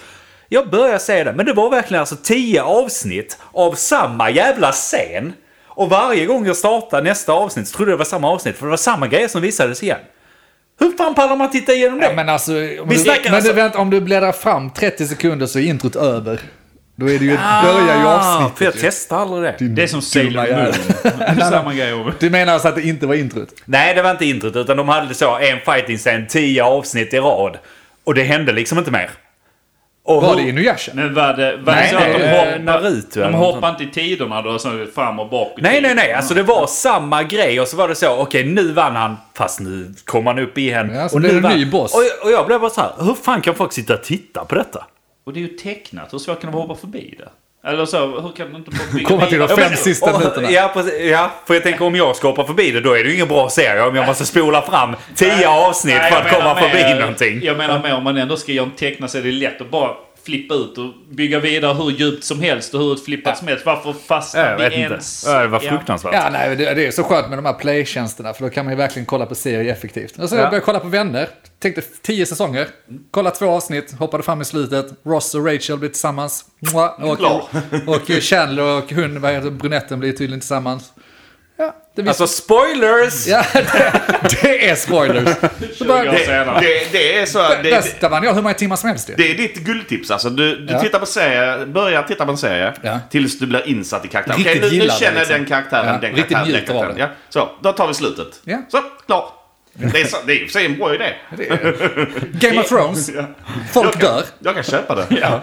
B: Jag började se det, men det var verkligen alltså tio avsnitt av samma jävla scen. Och varje gång jag startade nästa avsnitt så trodde jag det var samma avsnitt, för det var samma grejer som visades igen. Hur fan pallar man titta igenom det?
C: Ja, men alltså, om
B: Vi
C: du,
B: snackar
C: men
B: alltså-
C: du, vänta, om du bläddrar fram 30 sekunder så är introt över. Då är det ju, börjar ju avsnittet.
B: Ah, För jag testar aldrig det.
D: Det är som Sailor
C: jävel.
D: Moon. Det är samma grej. Ove.
C: Du menar alltså att det inte var introt?
B: Nej, det var inte introt, utan de hade så en fighting scen, tio avsnitt i rad. Och det hände liksom inte mer. Och
C: Var
B: hur-
C: det Inuyasha?
D: Men var det, var
B: Nej,
D: det så att
B: det
D: de
B: är
D: hoppar,
B: Naruto eller
D: Eh, de
B: något
D: hoppar inte i tiderna då, så fram och bak? i
B: Nej,
D: tiden?
B: nej, nej. Alltså det var samma grej och så var det så, okej nu vann han, fast nu kom han upp igen.
C: Ja, så
B: och
C: blev
B: nu
C: det en
B: vann-
C: ny boss.
B: Och, jag- och jag blev bara så här, hur fan kan folk sitta och titta på detta?
D: Och det är ju tecknat. Hur svårt kan de hoppa förbi det? Eller så, hur kan de inte bara bygga
C: Komma till de
D: vidare?
C: fem sista
B: och,
C: minuterna.
B: Ja, precis, ja, för jag tänker om jag ska hoppa förbi det, då är det ju ingen bra serie om jag måste spola fram tio avsnitt
D: Nej,
B: för
D: jag
B: att komma
D: menar mer-
B: förbi någonting.
D: Jag menar mer om man ändå ska göra en teckna så är det lätt att bara flippa ut och bygga vidare hur djupt som helst och hur utflippat som helst. Varför fastnar
B: Ja, jag vet
D: vi
B: inte.
D: ens?
B: Ja, det var fruktansvärt.
C: Ja, nej, det, det är så skönt med de här playtjänsterna för då kan man ju verkligen kolla på serier effektivt. Och så jag började kolla på Vänner, tänkte tio säsonger, kolla två avsnitt, hoppade fram i slutet, Ross och Rachel blir tillsammans, Mwah. och, och Chandler och hon, vad heter brunetten, blir tydligen tillsammans. Ja, det, visste-
B: Alltså spoilers!
C: ja, det, det är spoilers. Så bara,
D: år senare.
E: Det, det är så...
C: där,
E: Det,
C: där vann jag hur många timmar som helst ju.
E: det är ditt guldtips alltså. Du, du
C: Ja.
E: tittar på serie, börjar titta på en serie
C: Ja.
E: tills du blir insatt i karaktären.
C: Riktigt
E: Okej, nu, nu
C: gillar det,
E: känner jag
C: liksom.
E: den karaktären,
C: Ja,
E: den
C: riktigt
E: karaktären, den
C: njuter av
E: karaktären. Ja. Så, då tar vi slutet.
C: Ja.
E: Så, klar. Det är, så, det är i och för sig en bra idé.
C: Game of Thrones, folk dör.
E: Jag kan köpa det.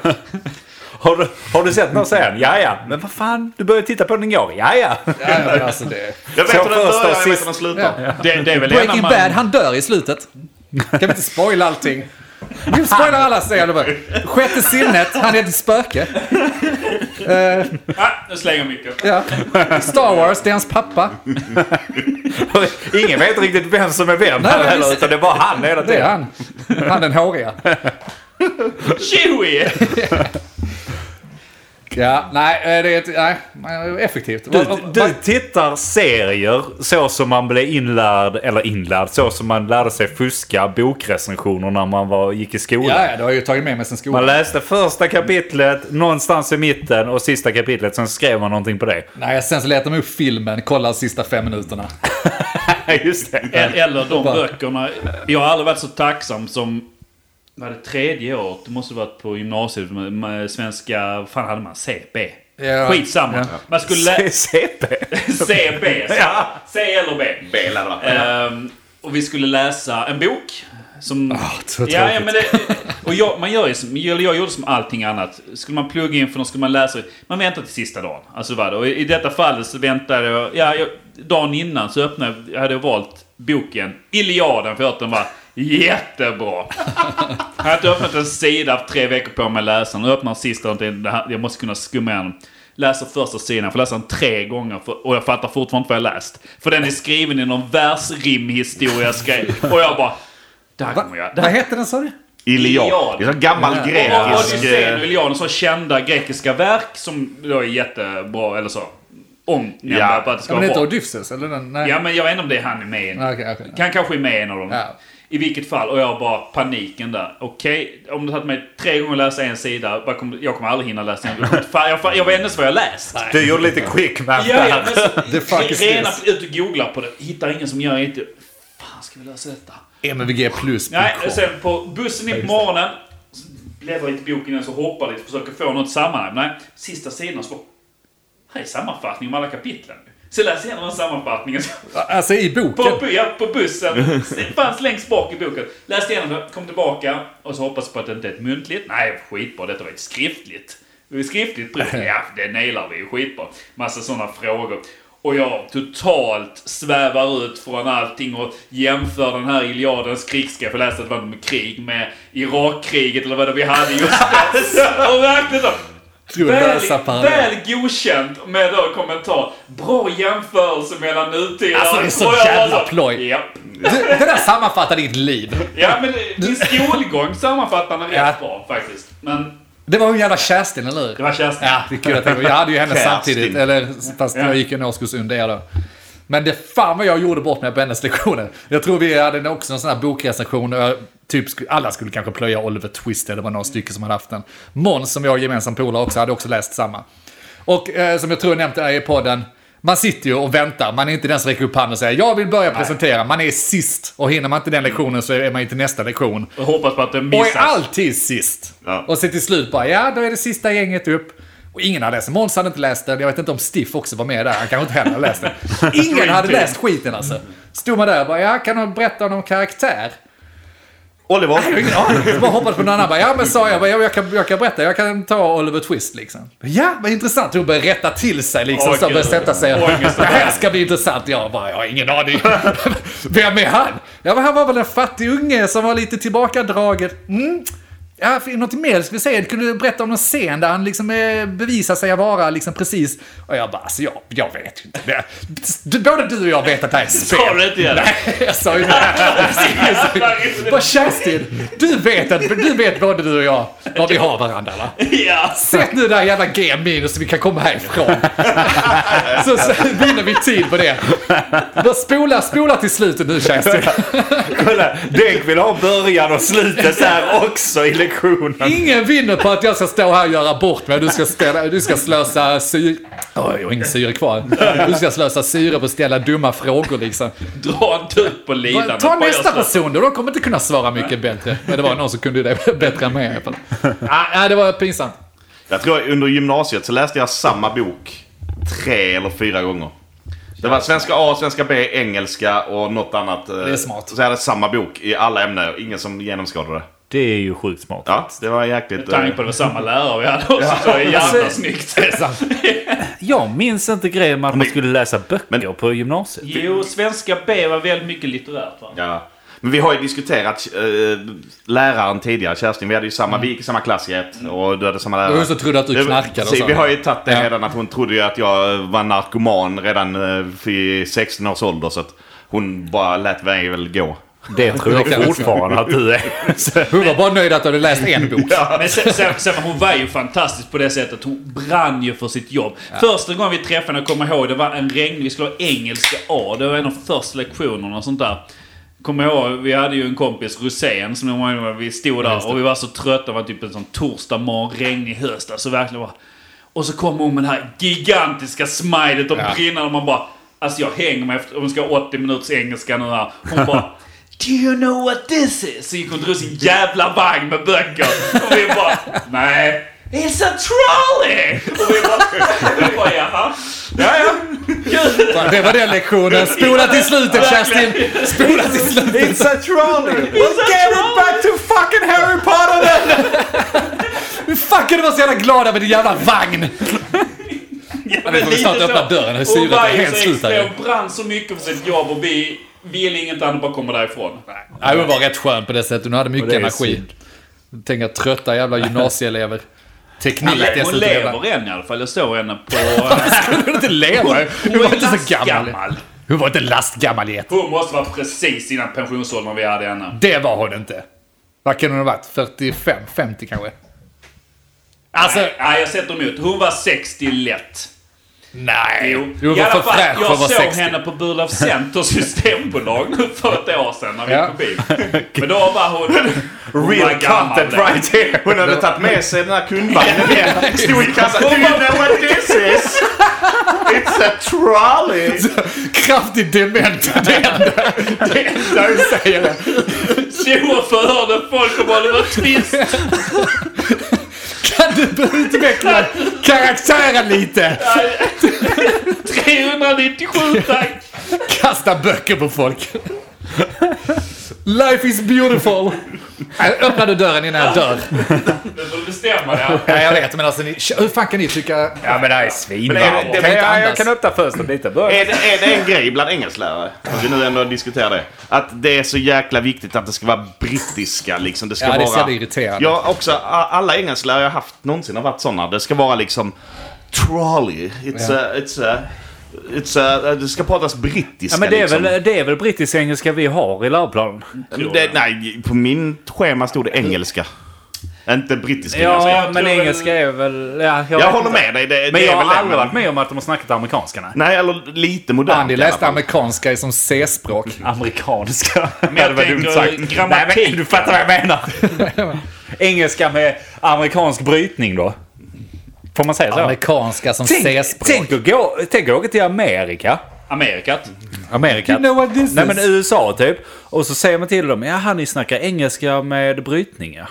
B: Har du, har du sett någon sen? Ja, ja. Men vad fan, du började titta på den igår. Ja, ja.
C: Ja, men alltså det...
E: Jag vet
B: Så
E: hur den
B: först och
E: börjar, jag vet
B: sist-
E: hur den slutar.
D: Det, det är väl ena
C: Breaking
D: man...
C: Bad, han dör i slutet. Kan vi inte spoila allting? Vi spoilar alla serier bara. Sjätte sinnet, han är ett spöke.
D: Ah, nu slänger jag mycket.
C: Ja. Star Wars, det är hans pappa.
B: Ingen vet riktigt vem som är vem
C: Nej,
B: här
C: men
B: heller,
C: visst.
B: utan det är bara han hela
C: Det är
B: tiden.
C: han. Han den håriga.
D: Chewie!
C: Ja, nej, eh, det är ett, nej, eh, effektivt.
B: Du,
C: Va- va-
B: du tittar serier så som man blev inlärd, eller inlärd, så som man lärde sig fuska bokrecensioner när man var, gick i skolan.
C: Ja, ja, det har jag ju tagit med mig sen
B: Man
C: skolan.
B: läste första kapitlet någonstans i mitten och sista kapitlet, sen skrev man någonting på det.
C: Nej, sen så letar man upp filmen, kollar de sista fem minuterna.
B: Just det.
D: El- Eh, Eller de
C: Eh, Bara-
D: böckerna. Jag har aldrig varit så tacksam som... Var det tredje året? Det måste varit på gymnasiet med, med svenska... Vad fan hade man? CP?
C: Ja.
D: Skitsamma.
C: Ja.
D: Man skulle... lä-
B: CP.
D: CB. så.
B: Ja.
D: C eller B.
E: Bela, va?
D: Ehm, och vi skulle läsa en bok. Som...
C: så
D: ja, ja,
C: tråkigt.
D: men det, och jag, man gör ju som, eller jag gjorde som allting annat. Skulle man plugga in för någon skulle man läsa. Man väntar till sista dagen. Alltså vad det. Och i, i detta fallet så väntade jag, ja, jag... Dagen innan så öppnade jag, hade jag valt boken Iliaden för att den var jättebra. Jag har inte öppnat en sida haft tre veckor på mig att läsa den. Jag öppnar sista och tänkte, det här- jag måste kunna skumma igenom. Läser första sidan, jag får läsa den tre gånger för, och jag fattar fortfarande inte vad jag läst. För den är skriven i någon versrimhistoria jag skrev. Och jag bara... Det här kommer jag... Det
C: Vad
D: här,
C: hette den sa du?
E: Iliad.
D: Iliad.
E: Det är så gammal
D: och och
E: grekisk...
D: Odysséen och
E: eh,
D: Iliaden, så kända grekiska verk som då är jättebra, eller så. Omnämnda
E: Ja.
D: på att det ska
C: Ja, men det
D: vara
C: heter
D: bra.
C: Odysseus, eller? Den? Nej.
D: Ja, men jag vet inte om det är han är med i.
C: Ja, okej, okej.
D: Han kanske är med i en av dem.
C: Ja.
D: I vilket fall, och jag bara paniken där. Okej, om det hade mig tre gånger att läsa en sida, bara kom, jag kommer aldrig hinna läsa en. Jag, kommer inte- fan, jag, fan, jag vet inte ens vad jag läst.
B: Du gjorde lite quick math
D: Ja, ja,
B: där.
D: men så,
C: The fuck is
D: rena
C: this?
D: ut och googlar på det, hittar ingen som gör det. Inte. Fan, ska vi lösa detta?
C: MVG plus.
D: Nej, och sen på bussen in på morgonen, så bläddrar jag lite i boken igen, så hoppar jag lite, försöker få något sammanhang. Nej, sista sidan så bara, här är sammanfattningen om alla kapitlen. Så läser jag igenom den sammanfattningen. Så,
C: Alltså i
D: på,
C: boken.
D: bu- ja, på bussen. Det fanns längst bak i boken. Läste igenom det, kom tillbaka och så hoppas på att det inte är ett muntligt. Nej, skitbra. Detta var ett skriftligt. Det var ett skriftligt prov. Ja, det nailar vi. Skitbra. Massa sådana frågor. Och jag totalt svävar ut från allting och jämför den här Iliadens krigsska, för jag läste att det var med krig, med Irakkriget eller vad det vi hade just då. Och verkligen då.
C: Tror jag läsa
D: Väl,
C: parallellt.
D: väl godkänt med då kommentar. Bra jämförelse mellan nutida
C: Alltså, det är så
D: och jag bara
C: jävla
D: så-
C: ploj.
D: Japp.
C: Du, det där sammanfattar ditt liv.
D: Ja, men det- min skolgång sammanfattar den rätt
C: Ja.
D: bra faktiskt. Men
C: Det var hon jävla Kerstin, eller hur?
D: det var Kerstin.
C: Ja, det är kul att jag, jag hade ju henne
E: Kerstin.
C: samtidigt. Eller, fast
D: Ja.
C: jag gick en årskurs under er då. Men det fan vad jag gjorde bort mig på hennes lektioner. Jag tror vi hade också någon sån här bokrecension. och jag Typ, sk- alla skulle kanske plöja Oliver Twist, eller var några stycken som hade haft den. Måns, som jag har gemensam polare också, hade också läst samma. Och eh, som jag tror jag nämnt här i podden, man sitter ju och väntar. Man är inte den som räcker upp handen och säger jag vill börja presentera. Man är sist. Och hinner man inte den lektionen så är man inte nästa lektion.
D: Jag hoppas på att den
C: Och är
D: missas.
C: alltid sist.
E: Ja.
C: Och så till slut bara, ja då är det sista gänget upp. Och ingen hade läst den. Måns hade inte läst den. Jag vet inte om Stiff också var med där. Han kanske inte heller hade läst den. Ingen hade
D: Dream
C: läst skiten alltså. Stod man där och bara, ja kan du berätta om någon karaktär? Jag har
E: Oliver.
C: ingen aning. Jag bara hoppades på någon annan. Bara, ja men sa jag, bara, ja, jag, kan, jag kan berätta. Jag kan ta Oliver Twist liksom. Ja, vad intressant. Hon började rätta till sig liksom.
D: Åh,
C: så började
D: gud.
C: sätta sig.
D: Ångest.
C: Det här ska bli intressant. Jag bara, jag har ingen aning. Vem är han? Ja, men han var väl en fattig unge som var lite tillbakadragen. Mm. Ja, fin- något mer skulle säga. Kunde du berätta om någon scen där han liksom eh, bevisar sig vara liksom precis... Och jag bara, alltså jag, jag vet ju inte. Det- Du, både du och jag vet att det här är spel.
D: Sa du inte det?
C: Nej, jag sa ju det. Vad Kerstin, du vet, att, du vet både du och jag var vi har varandra va?
D: Ja.
C: Sätt nu det här jävla G minus så vi kan komma härifrån. Så, så vinner vi tid på det. Bara Spola, spola till slutet nu Kerstin.
B: Kolla, Denk vill ha början och slutet så här också i lektionen.
C: Ingen vinner på att jag ska stå här och göra bort mig. Du ska, ställa, du ska slösa syre... Oj, jag har ingen syre kvar. Du ska slösa syre på att ställa dumma frågor liksom.
D: Dra inte ut på lidan.
C: Ta
D: Bara
C: nästa
D: jag slår-
C: person då, de kommer inte kunna svara mycket bättre. Men det var någon som kunde det bättre än mig i alla fall. Ah, ah, det var pinsamt.
E: Jag tror under gymnasiet så läste jag samma bok tre eller fyra gånger. Det var svenska A, svenska B, engelska och något annat. eh, Det
C: är smart.
E: Så jag hade samma bok i alla ämnen och ingen som genomskådade det.
B: Det är ju sjukt smart.
E: Ja, det var jäkligt... eh,
D: Med tanke på att det var samma lärare vi hade också så är det jävla
C: Alltså,
D: snyggt.
B: Jag minns inte grejen med att man skulle läsa böcker på gymnasiet.
D: Jo, svenska B var väldigt mycket litterärt. Va?
E: Ja. Men vi har ju diskuterat eh, läraren tidigare, Kerstin. Vi, hade ju
C: Mm.
E: samma, vi gick i samma klass i ett och du hade samma lärare.
C: Och hon så trodde att du
E: Det-
C: knarkade och
E: precis,
C: så.
E: Vi har ju tagit det
C: Ja.
E: redan att hon trodde ju att jag eh, var narkoman redan eh, vid 16 års ålder. Så att hon bara lät mig väl gå.
B: Det tror
C: Det kan
B: jag
C: jag
B: fortfarande att du är.
C: Hon var bara nöjd att du hade läst en bok.
D: Men sen, sen, sen, hon var ju fantastisk på det sättet. Hon brann ju för sitt jobb. Första gången vi träffade henne, kommer jag ihåg, det var en regn... Vi skulle ha engelska A. Det var en av första lektionerna och sånt där. Kommer jag ihåg, vi hade ju en kompis, Rosén, som jag menar, vi stod där och vi var så trötta. Det var typ en sån torsdag morgon, regnig höst. Alltså verkligen bara... Och så kom hon med det här gigantiska smilet och
C: Ja.
D: brinnande och man bara... Alltså jag hänger mig efter, om vi ska ha 80 minuters engelska nu här. Hon bara... Do you know what this is? Så gick hon och drog sin jävla vagn med böcker. Och vi bara... Nej. It's a trolley! Och vi bara... Vi bara jaha. Ja, ja. Kul.
C: Det var den lektionen. Spola till slutet Kerstin! Spola till slutet!
B: It's a trolley!
D: It's a trolley!
B: to fucking Harry Potter then!
C: Fuck, du var så jävla glad över din jävla vagn!
D: Ja,
C: vi får snart öppna dörren. Hur syret är helt slut här.
D: Hon brann så mycket för sitt jobb och vi ville inget annat än bara komma därifrån.
C: Nej, hon var rätt skön på det sättet. Hon hade mycket
B: det är
C: energi. Tänk att trötta jävla gymnasieelever. Teknik
D: Hon
C: dessutom. jävla-
D: lever än i alla fall. Jag såg henne på...
C: Hon var inte leva. Hon var inte så gammal. Hon var inte lastgammal i ett.
D: Hon måste vara precis innan pensionsåldern vi hade henne.
C: Det var hon inte. Vad kan hon ha varit? 45? 50 kanske? Alltså,
D: Nej, nej, jag sätter emot. Hon var 60 lätt.
C: nej.
D: Jo,
C: Hon
D: i
C: var för
D: alla fall,
C: fräsch för
D: jag
C: att vara
D: såg
C: 60.
D: henne på Burlöf Center systembolag nu för ett år sedan när vi
C: Ja.
D: gick förbi. Men då var hon... hon var
E: Real
D: gammal
E: content
D: då.
E: right here! Hon hade tagit med sig den här kundvagnen ner. Stod i kassan. Do you know what this is? It's a trolley!
C: Kraftigt dement. Det är det enda hon säger.
D: Stora förhörde folk om Oliver Twist.
C: Kan du utveckla karaktären lite?
D: 397 tack!
C: Kasta böcker på folk. Life is beautiful. Nej, Öppna du dörren innan jag dör.
D: Nu får du bestämma dig.
C: Nej, jag vet, men alltså ni, hur fan kan ni tycka...
B: Ja men det är
E: Men är det-
B: svinvarmt.
C: Kan inte
B: Jag, jag
C: andas.
B: kan öppna fönstret lite. Börja.
E: Är det, är det en grej bland engelsklärare? Om vi nu ändå diskuterar det. Att det är så jäkla viktigt att det ska vara brittiska liksom. Det ska
C: Ja, det är så
E: vara...
C: jävla irriterande.
E: Ja, också a- alla engelsklärare jag haft någonsin har varit sådana. Det ska vara liksom trolley. It's a, it's a, it's a, det ska pratas brittiska
B: Ja, men det, är
E: liksom.
B: väl, det är väl brittisk engelska vi har i läroplanen?
E: Det, nej, på min schema stod det engelska. Inte brittiska engelska.
B: Ja, men
D: jag tror väl-
B: engelska är väl... Ja, jag vet
E: Jag håller
B: inte.
E: med dig. Det,
B: Men
E: det
B: jag
E: är väl
B: har
E: det,
B: aldrig
E: men-
B: varit med om att de har snackat amerikanska. Nej.
E: Nej, eller lite modernt
C: Andy
E: i alla
C: läste
E: fall.
C: amerikanska som C-språk.
B: Amerikanska.
D: Men jag tänker grammatik.
B: Nej, men du fattar vad jag menar. engelska med amerikansk brytning då. Får man säga så?
C: Amerikanska som
B: Tänk,
C: C-språk.
B: tänk, att gå, tänk att åka till Amerika.
D: Amerikat.
B: Amerika.
C: You know what this
B: Nej
C: is?
B: men USA typ. Och så säger man till dem, jaha ni snackar engelska med brytningar.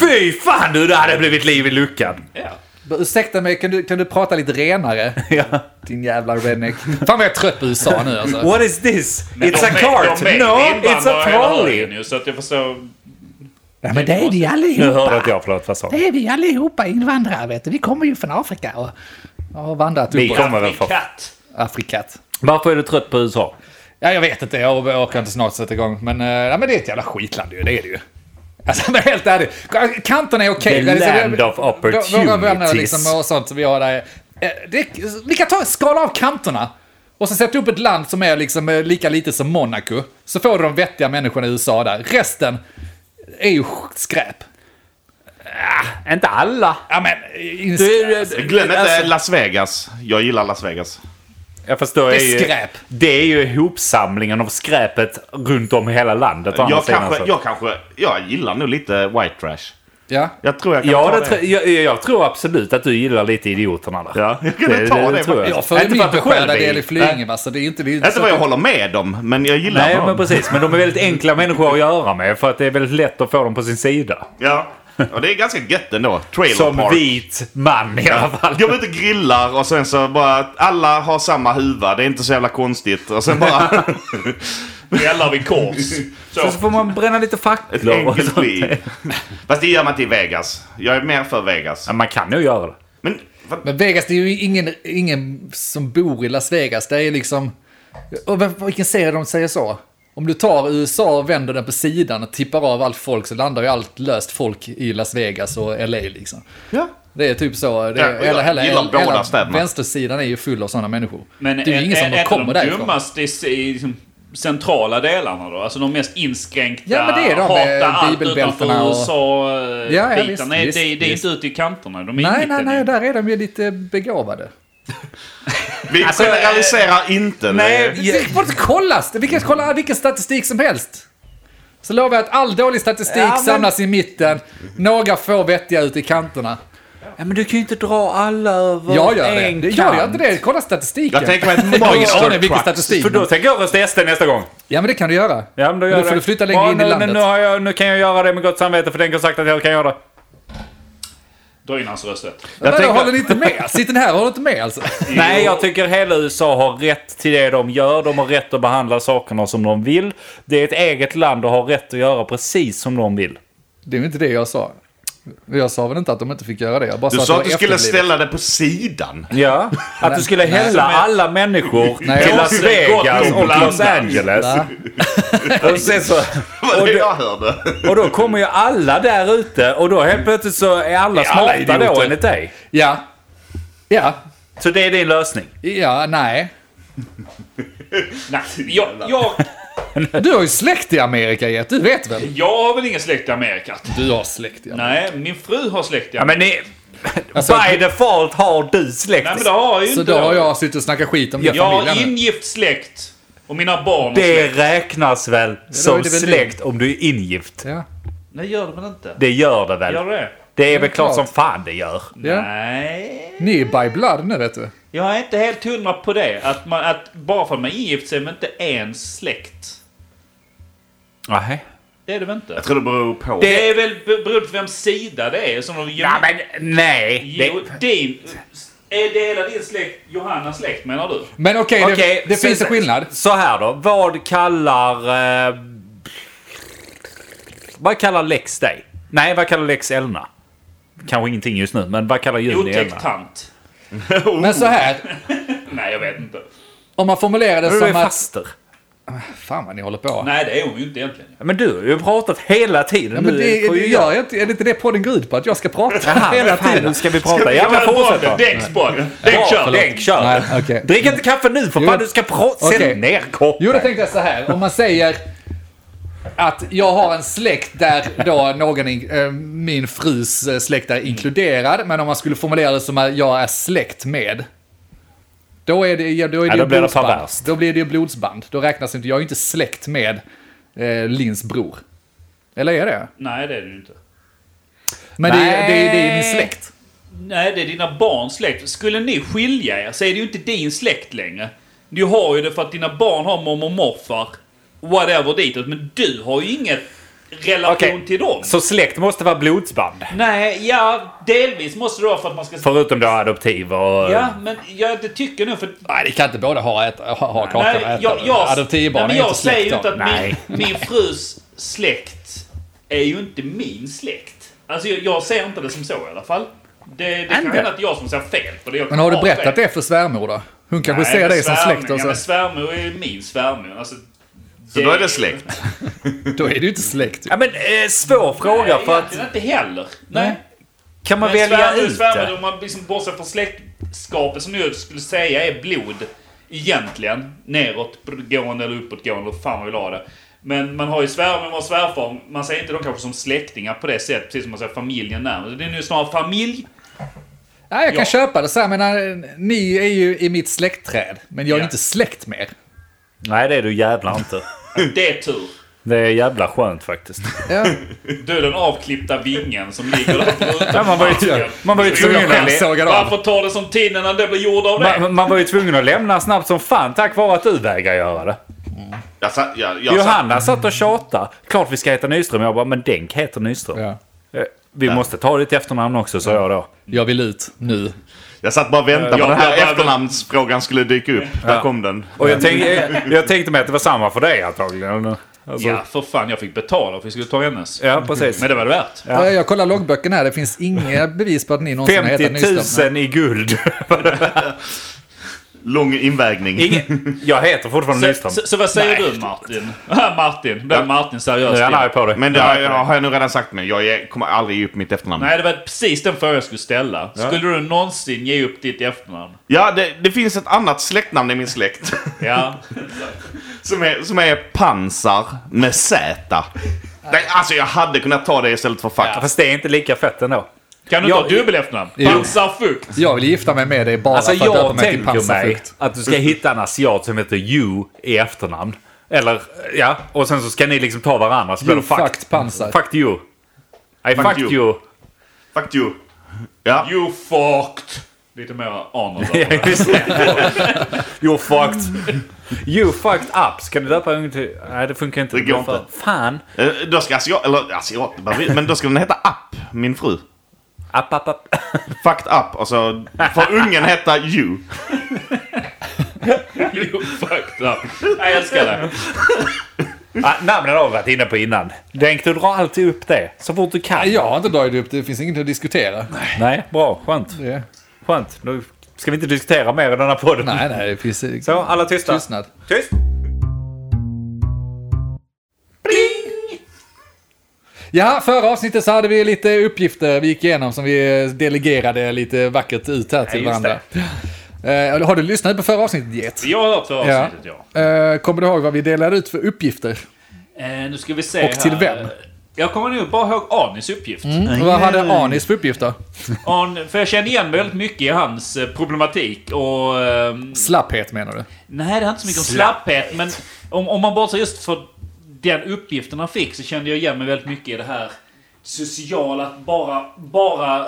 B: Fy fan du, det hade blivit liv i luckan.
D: Ja.
C: Ursäkta mig, kan du, kan du prata lite renare?
B: Ja.
C: Din jävla redneck. Fan vad jag är trött på USA nu alltså.
B: What is this?
D: Men
B: it's
D: de
B: a
D: är-
B: cart!
D: de är
B: No,
D: invandrare
B: it's a
D: hela högen
B: trolley!
D: ju, Så att jag förstår...
C: Ja, men det är vi
B: Nu
C: allihopa.
B: hörde inte jag, förlåt. Vad sa du?
C: är vi allihopa invandrare, vet du. Vi kommer ju från Afrika och har vandrat
B: Vi
C: uppåt.
B: kommer väl för...
D: Katt.
C: Afrikat.
B: Varför är du trött på USA?
C: Ja, jag vet inte. Jag orkar inte snart sätta igång. Men, eh, ja, men det är ett jävla skitland ju. Det är det ju. Alltså, men helt ärligt. Kanterna är okej.
B: The
C: Men liksom,
B: land
C: det-
B: of
C: Våra vänner
B: opportunities.
C: liksom och sånt som vi har där. eh, Det, vi kan ta, skala av kanterna. Och så sätta upp ett land som är liksom eh, lika litet som Monaco. Så får du de vettiga människorna i USA där. Resten är ju skräp.
B: Inte alla.
C: Ja, men... eh,
E: Glöm inte
B: Alltså,
E: Las Vegas. Jag gillar Las Vegas.
B: jag förstår,
C: Det är
B: ju-
C: skräp.
B: Det är ju ihopsamlingen av skräpet runt om i hela landet. å andra
E: Jag
B: sidan,
E: kanske,
B: så.
E: jag kanske, jag gillar nog lite white trash.
C: Ja.
E: Jag tror jag kan
B: Ja,
E: ta
B: det tr- jag, jag tror absolut att du gillar lite idioterna där.
E: Ja, jag kan ta det
B: tror jag.
C: Jag får ju
B: Inte
C: min
B: för att du själv
C: beskärda
B: är-
C: del i Flyinge, va, så det är inte... Det är inte
E: Inte
C: så
E: vad jag
C: att-
E: håller med dem, men jag gillar
B: Nej,
E: dem.
B: men precis. Men de är väldigt enkla människor att göra med för att det är väldigt lätt att få dem på sin sida.
E: Ja. Och det är ganska gött ändå. Trailer
B: Som
E: park.
B: vit man i alla fall.
E: Går ut och grillar och sen så bara alla har samma huva. Det är inte så jävla konstigt. Och sen bara...
D: Nu eldar vi kors.
B: Sen
D: Så,
B: så får man bränna lite
E: Ett
B: facklor och
E: enkelt
B: sånt.
E: liv. Fast det gör man inte i Vegas. Jag är mer för Vegas.
B: Ja, man kan ju göra det.
E: Men vad-
C: Men Vegas, det är ju ingen, ingen som bor i Las Vegas. Det är liksom... Och vem- vilken serie de säger så? Om du tar USA och vänder den på sidan och tippar av allt folk så landar ju allt löst folk i Las Vegas och LA liksom.
E: ja.
C: Det är typ så. Det
E: Ja,
C: är,
E: jag
C: hela, hela,
E: gillar
C: hela,
E: båda städerna.
C: vänstersidan är ju full av sådana människor.
D: men
C: det är ju ingen som de kommer
D: de
C: därifrån.
D: dummaste i, i liksom, centrala delarna då? Alltså de mest inskränkta,
C: Ja, men det är de med
D: hatar allt
C: bibelbältena
D: utanför
C: och-
D: USA-bitarna.
C: Ja, ja, visst,
D: det,
C: visst,
D: det är
C: visst.
D: inte ute i kanterna. De är i
C: Nej, nej,
D: mitten.
C: nej, där är de ju lite begåvade.
E: Vi generaliserar inte.
B: Nej.
C: Vi får inte kolla! Vi kan kolla vilken statistik som helst. Så lovar jag att all dålig statistik
B: Ja, men-
C: samlas i mitten. Några få vettiga ute i kanterna.
B: Ja, men du kan ju inte dra alla över
C: Jag gör det.
B: en
C: Jag
B: kant.
C: gör inte det. Kolla statistiken.
E: Jag tänker mig ett
C: har ingen
E: monster
C: aning vilken
E: truck.
C: statistik.
B: För då tänker jag rösta SD nästa gång.
C: Ja, men det kan du göra.
B: Ja, men då
C: Men
B: gör
C: då får
B: det.
C: du flytta längre
B: Ja,
C: in i
B: nu,
C: landet.
B: Nu, nu, har jag, nu kan jag göra det med gott samvete för den har sagt att jag kan göra det.
D: Dra in hans rösträtt.
E: Jag
C: men då
E: tänker-
C: håller ni inte med? Sitter ni här och håller inte med alltså?
B: Nej, jag tycker hela USA har rätt till det de gör. De har rätt att behandla sakerna som de vill. Det är ett eget land och har rätt att göra precis som de vill.
C: Det är ju inte det jag sa. Jag sa väl inte att de inte fick göra det. Jag bara
E: Du
C: att
E: sa
C: det
E: att du
C: var
E: skulle
C: efterblivet.
E: ställa det på sidan.
B: Ja, att du skulle hälla alla människor
C: Nej,
B: till
C: jag-
B: Las Vegas och Los Angeles.
C: Va?
B: Och, sen så,
E: Det var
B: Och
E: det
B: du-
E: jag hörde.
B: och då kommer ju alla där ute och då helt plötsligt så är alla
E: alla
B: smarta då
E: idioter.
B: enligt dig.
C: Ja. Ja.
B: Så det är din lösning.
C: Ja, nej.
D: Nej, jag, jag,
C: Du har ju släkt i Amerika, Get. Du vet väl?
D: jag har väl ingen släkt i Amerika.
C: Du har släkt i Amerika.
D: Nej, min fru har släkt i
B: Ja,
D: Amerika.
B: men ni,
C: Alltså,
B: by default har du släkt.
D: Nej, men det har jag ju
C: Så
D: inte.
C: då har jag suttit och snackat skit om din
D: jag
C: familj.
D: har
C: här nu.
D: ingift släkt. Och mina barn har
B: Det
D: släkt.
B: räknas väl som
C: är det väl
B: släkt om du är ingift?
C: Ja.
D: Nej, gör det väl inte?
B: Det gör det väl?
D: Gör det?
B: Det är väl
C: Ja,
B: klart
C: klart.
B: som fan det gör.
C: Ja.
D: Nej.
C: Ni är by blood nu, vet du.
D: Jag är inte helt hundra på det. Att, man, att bara för att man är ingift så är man inte ens släkt.
B: Nej.
D: Det är det väl inte?
E: Jag tror det beror på.
D: Det är väl be- beroende på vems sida det är som de...
B: Ja, men nej. Det,
D: Jo, din... Är det hela din släkt Johannas släkt menar du?
C: Men okej,
B: Okej,
C: det, det
B: så-
C: finns en skillnad.
B: Så här då. Vad kallar... Eh, vad kallar Lex dig? Nej, vad kallar Lex Elna? Kanske ingenting just nu, men vad kallar Julie
D: Otäckt
B: Elna?
D: tant.
C: Men så här,
D: Nej, jag vet inte.
C: om man formulerar det
B: Du är
C: som att...
B: faster.
C: Fan vad ni håller på.
D: Nej, det är hon ju inte egentligen.
B: Men du har ju pratat hela tiden.
C: Ja, men
B: Nu
C: det,
B: får ju
C: det
B: jag-
C: gör jag inte. Är det inte det podden går ut på? Att jag ska prata
B: Aha,
C: hela
B: fan,
C: tiden?
B: Nu ska vi prata. Ja, men fortsätt då.
D: Bollen, Däcksbollen.
B: Bra,
D: Däckkör.
B: förlåt.
D: Däck.
B: Däckkör.
C: Nej, okej.
B: Drick inte kaffe nu för
C: Jo.
B: fan, du ska prata. Sätt
C: Okej.
B: ner koppen.
C: Jo, då tänkte jag så här. Om man säger att jag har en släkt där då någon, in- eh, min frus eh, släkt är inkluderad. Men om man skulle formulera det som att jag är släkt med. Då är det, ja, då är det
B: då
C: ju
B: blir det
C: blodsband.
B: perverst.
C: då blir det ju blodsband. Då räknas inte, jag är ju inte släkt med eh, Lins bror. Eller är det?
D: Nej, det är det ju inte.
C: Men det, är- det, är- det är ju min
B: Nej.
C: släkt.
D: Nej, det är dina barns släkt. Skulle ni skilja er så är det ju inte din släkt längre. Du har ju det för att dina barn har mormor och morfar. Whatever ditåt. Men du har ju inget relation
B: Okej.
D: till dem.
B: Så släkt måste vara blodsband?
D: Nej, ja, delvis måste det vara för att man ska...
B: Förutom då adoptiv och...
D: Ja, men jag det tycker nog för...
C: Nej, det kan inte båda ha, ett, ha, ha kakan och äta.
D: Nej, jag, jag, nej,
C: Adoptivbarn
D: men
C: är inte
D: jag säger ju
C: släkt.
D: inte
C: då.
D: att
B: Nej.
D: min, min frus släkt är ju inte min släkt. Alltså, jag, jag ser inte det som så i alla fall. Det, det kan
B: Ändå.
D: hända att jag som säger fel. För det jag
C: Men har du
D: fel.
C: berättat det för svärmor då? Hon kanske
D: Nej,
C: ser
D: men
C: dig som
D: svärmor-
C: släkt alltså. och
D: Ja, men
C: så.
D: svärmor är min svärmor. Alltså,
E: Så då är det släkt.
C: Då är det ju inte släkt.
B: Ja, men eh, svår fråga
D: Nej,
B: för att...
D: egentligen inte heller. Nej.
B: Kan man
D: Men
B: välja
D: svärmor,
B: ut
D: svärmor,
B: det?
D: om man liksom bortser från släktskapet som jag skulle säga är blod. Egentligen. Neråtgående eller uppåtgående, eller fan man vill ha det. Men man har ju svärmor, man har svärfar. Man säger inte dem kanske som släktingar på det sättet, precis som man säger familjen närmare. Det är nu snarare familj.
C: Nej, jag kan
D: Ja.
C: köpa det så här, men eh, ni är ju i mitt släktträd. Men jag är
D: Ja.
C: inte släkt med er.
B: Nej, det är du jävla inte.
E: Mm.
D: Det är tur.
B: Det är jävla skönt faktiskt.
C: Ja.
D: Du är den avklippta vingen som ligger där utanför
B: Ja, man var ju
D: marken.
B: man var ju
D: Så jag
B: tvungen
D: kan
B: att le-
C: sågar av.
D: Varför tar det sån tid innan det blir gjord av det?
B: Man, man var ju tvungen att lämna snabbt som fan tack vare att du vägrar göra det.
E: Jag sa, jag, jag sa,
B: Johanna satt och tjatade. Klart vi ska heta Nyström. Jag bara, men Denk heter Nyström.
C: Ja.
B: Eh, vi måste ta ditt efternamn också, sa jag då.
C: Jag vill ut nu.
E: Jag satt bara och väntade på
D: Jag-
E: den här
D: jag bara-
E: efternamnsfrågan skulle dyka upp. Där kom den.
B: Och jag tänkte, jag, jag tänkte mig att det var samma för dig antagligen. Alltså,
D: Ja, för fan. Jag fick betala för att vi skulle ta hennes.
B: ja, precis.
D: Men det var det värt.
B: Ja.
C: Eh, Jag kollar loggböckerna här, det finns inga bevis på att ni någonsin har hetat
B: 50
C: Nyström.
B: 000 i guld.
E: Lång invägning.
B: Ingen, jag heter fortfarande
D: Så,
B: Nyström.
D: så, så vad säger du Martin? Ja, Martin. Blev Martin seriös?
B: Nu är han
D: igen?
B: arg på dig.
E: Men det har jag, har jag nog redan sagt nu. Jag är- kommer aldrig ge upp mitt efternamn.
D: Nej, det var precis den frågan jag skulle ställa. Skulle du någonsin ge upp ditt efternamn?
E: Ja, det, det finns ett annat släktnamn i min släkt.
D: Ja.
E: Som är, som är pansar med Z. Nej, alltså jag hade kunnat ta det istället för fuck.
B: Ja, Fast det är inte lika fett ändå.
D: Kan du
B: Jag-
D: inte ha dubbelefternamn?
C: Jo.
D: Pansarfukt.
C: Jag vill gifta mig med dig bara
B: Alltså
C: för att döpa
B: jag
C: mig till
B: tänker mig
C: pansarfukt.
B: att du ska hitta en asiat som heter You i efternamn. Eller, ja. Och sen så ska ni liksom ta varandra. Så blir
C: You
B: det fucked.
C: fucked pansar.
B: Fucked you. I fucked,
E: you.
B: you.
E: Fuck you. Ja.
D: You fucked. Lite mer Arnold.
B: Ja, just det. You're fucked. You fucked up. Ska du döpa ungen till... Nej, det funkar inte.
E: Det går
B: Fan.
E: inte.
B: Fan.
E: Eh, Då ska asiat, eller alltså, asiat, det behöver vi- men då ska den heta App, min fru.
B: App, app, app.
E: Fucked up, alltså. För ungen heta you.
D: you fucked up. Jag älskar det.
B: Ah, namnen har vi varit inne på innan. Denk, du drar alltid upp det så fort du kan.
C: Jag har inte dragit upp det, det finns inget att diskutera.
B: Nej, bra. Skönt.
C: Det-
B: Skönt. Nu ska vi inte diskutera mer i den här podden.
C: Nej, nej, det finns
B: Så, alla tysta.
C: tystnad.
B: Tyst.
C: Ja, förra avsnittet så hade vi lite uppgifter vi gick igenom som vi eh, delegerade lite vackert ut här till
B: Ja, just
C: varandra. Eh, har du lyssnat på förra avsnittet, Get?
D: Jag har hört förra avsnittet, ja.
C: Eh, kommer du ihåg vad vi delade ut för uppgifter?
D: Eh, nu ska vi se
C: Och till
D: här.
C: vem? Mm.
D: Jag kommer nu bara ihåg Anis uppgift.
C: Vad hade Anis för uppgifter?
D: An, för jag känner igen väldigt mycket i hans eh, problematik och... ehm,
C: Slapphet menar du?
D: Nej, det är inte så mycket om slapphet, men om, om man bortser just för den uppgiften han fick så kände jag igen mig väldigt mycket i det här sociala, att bara, bara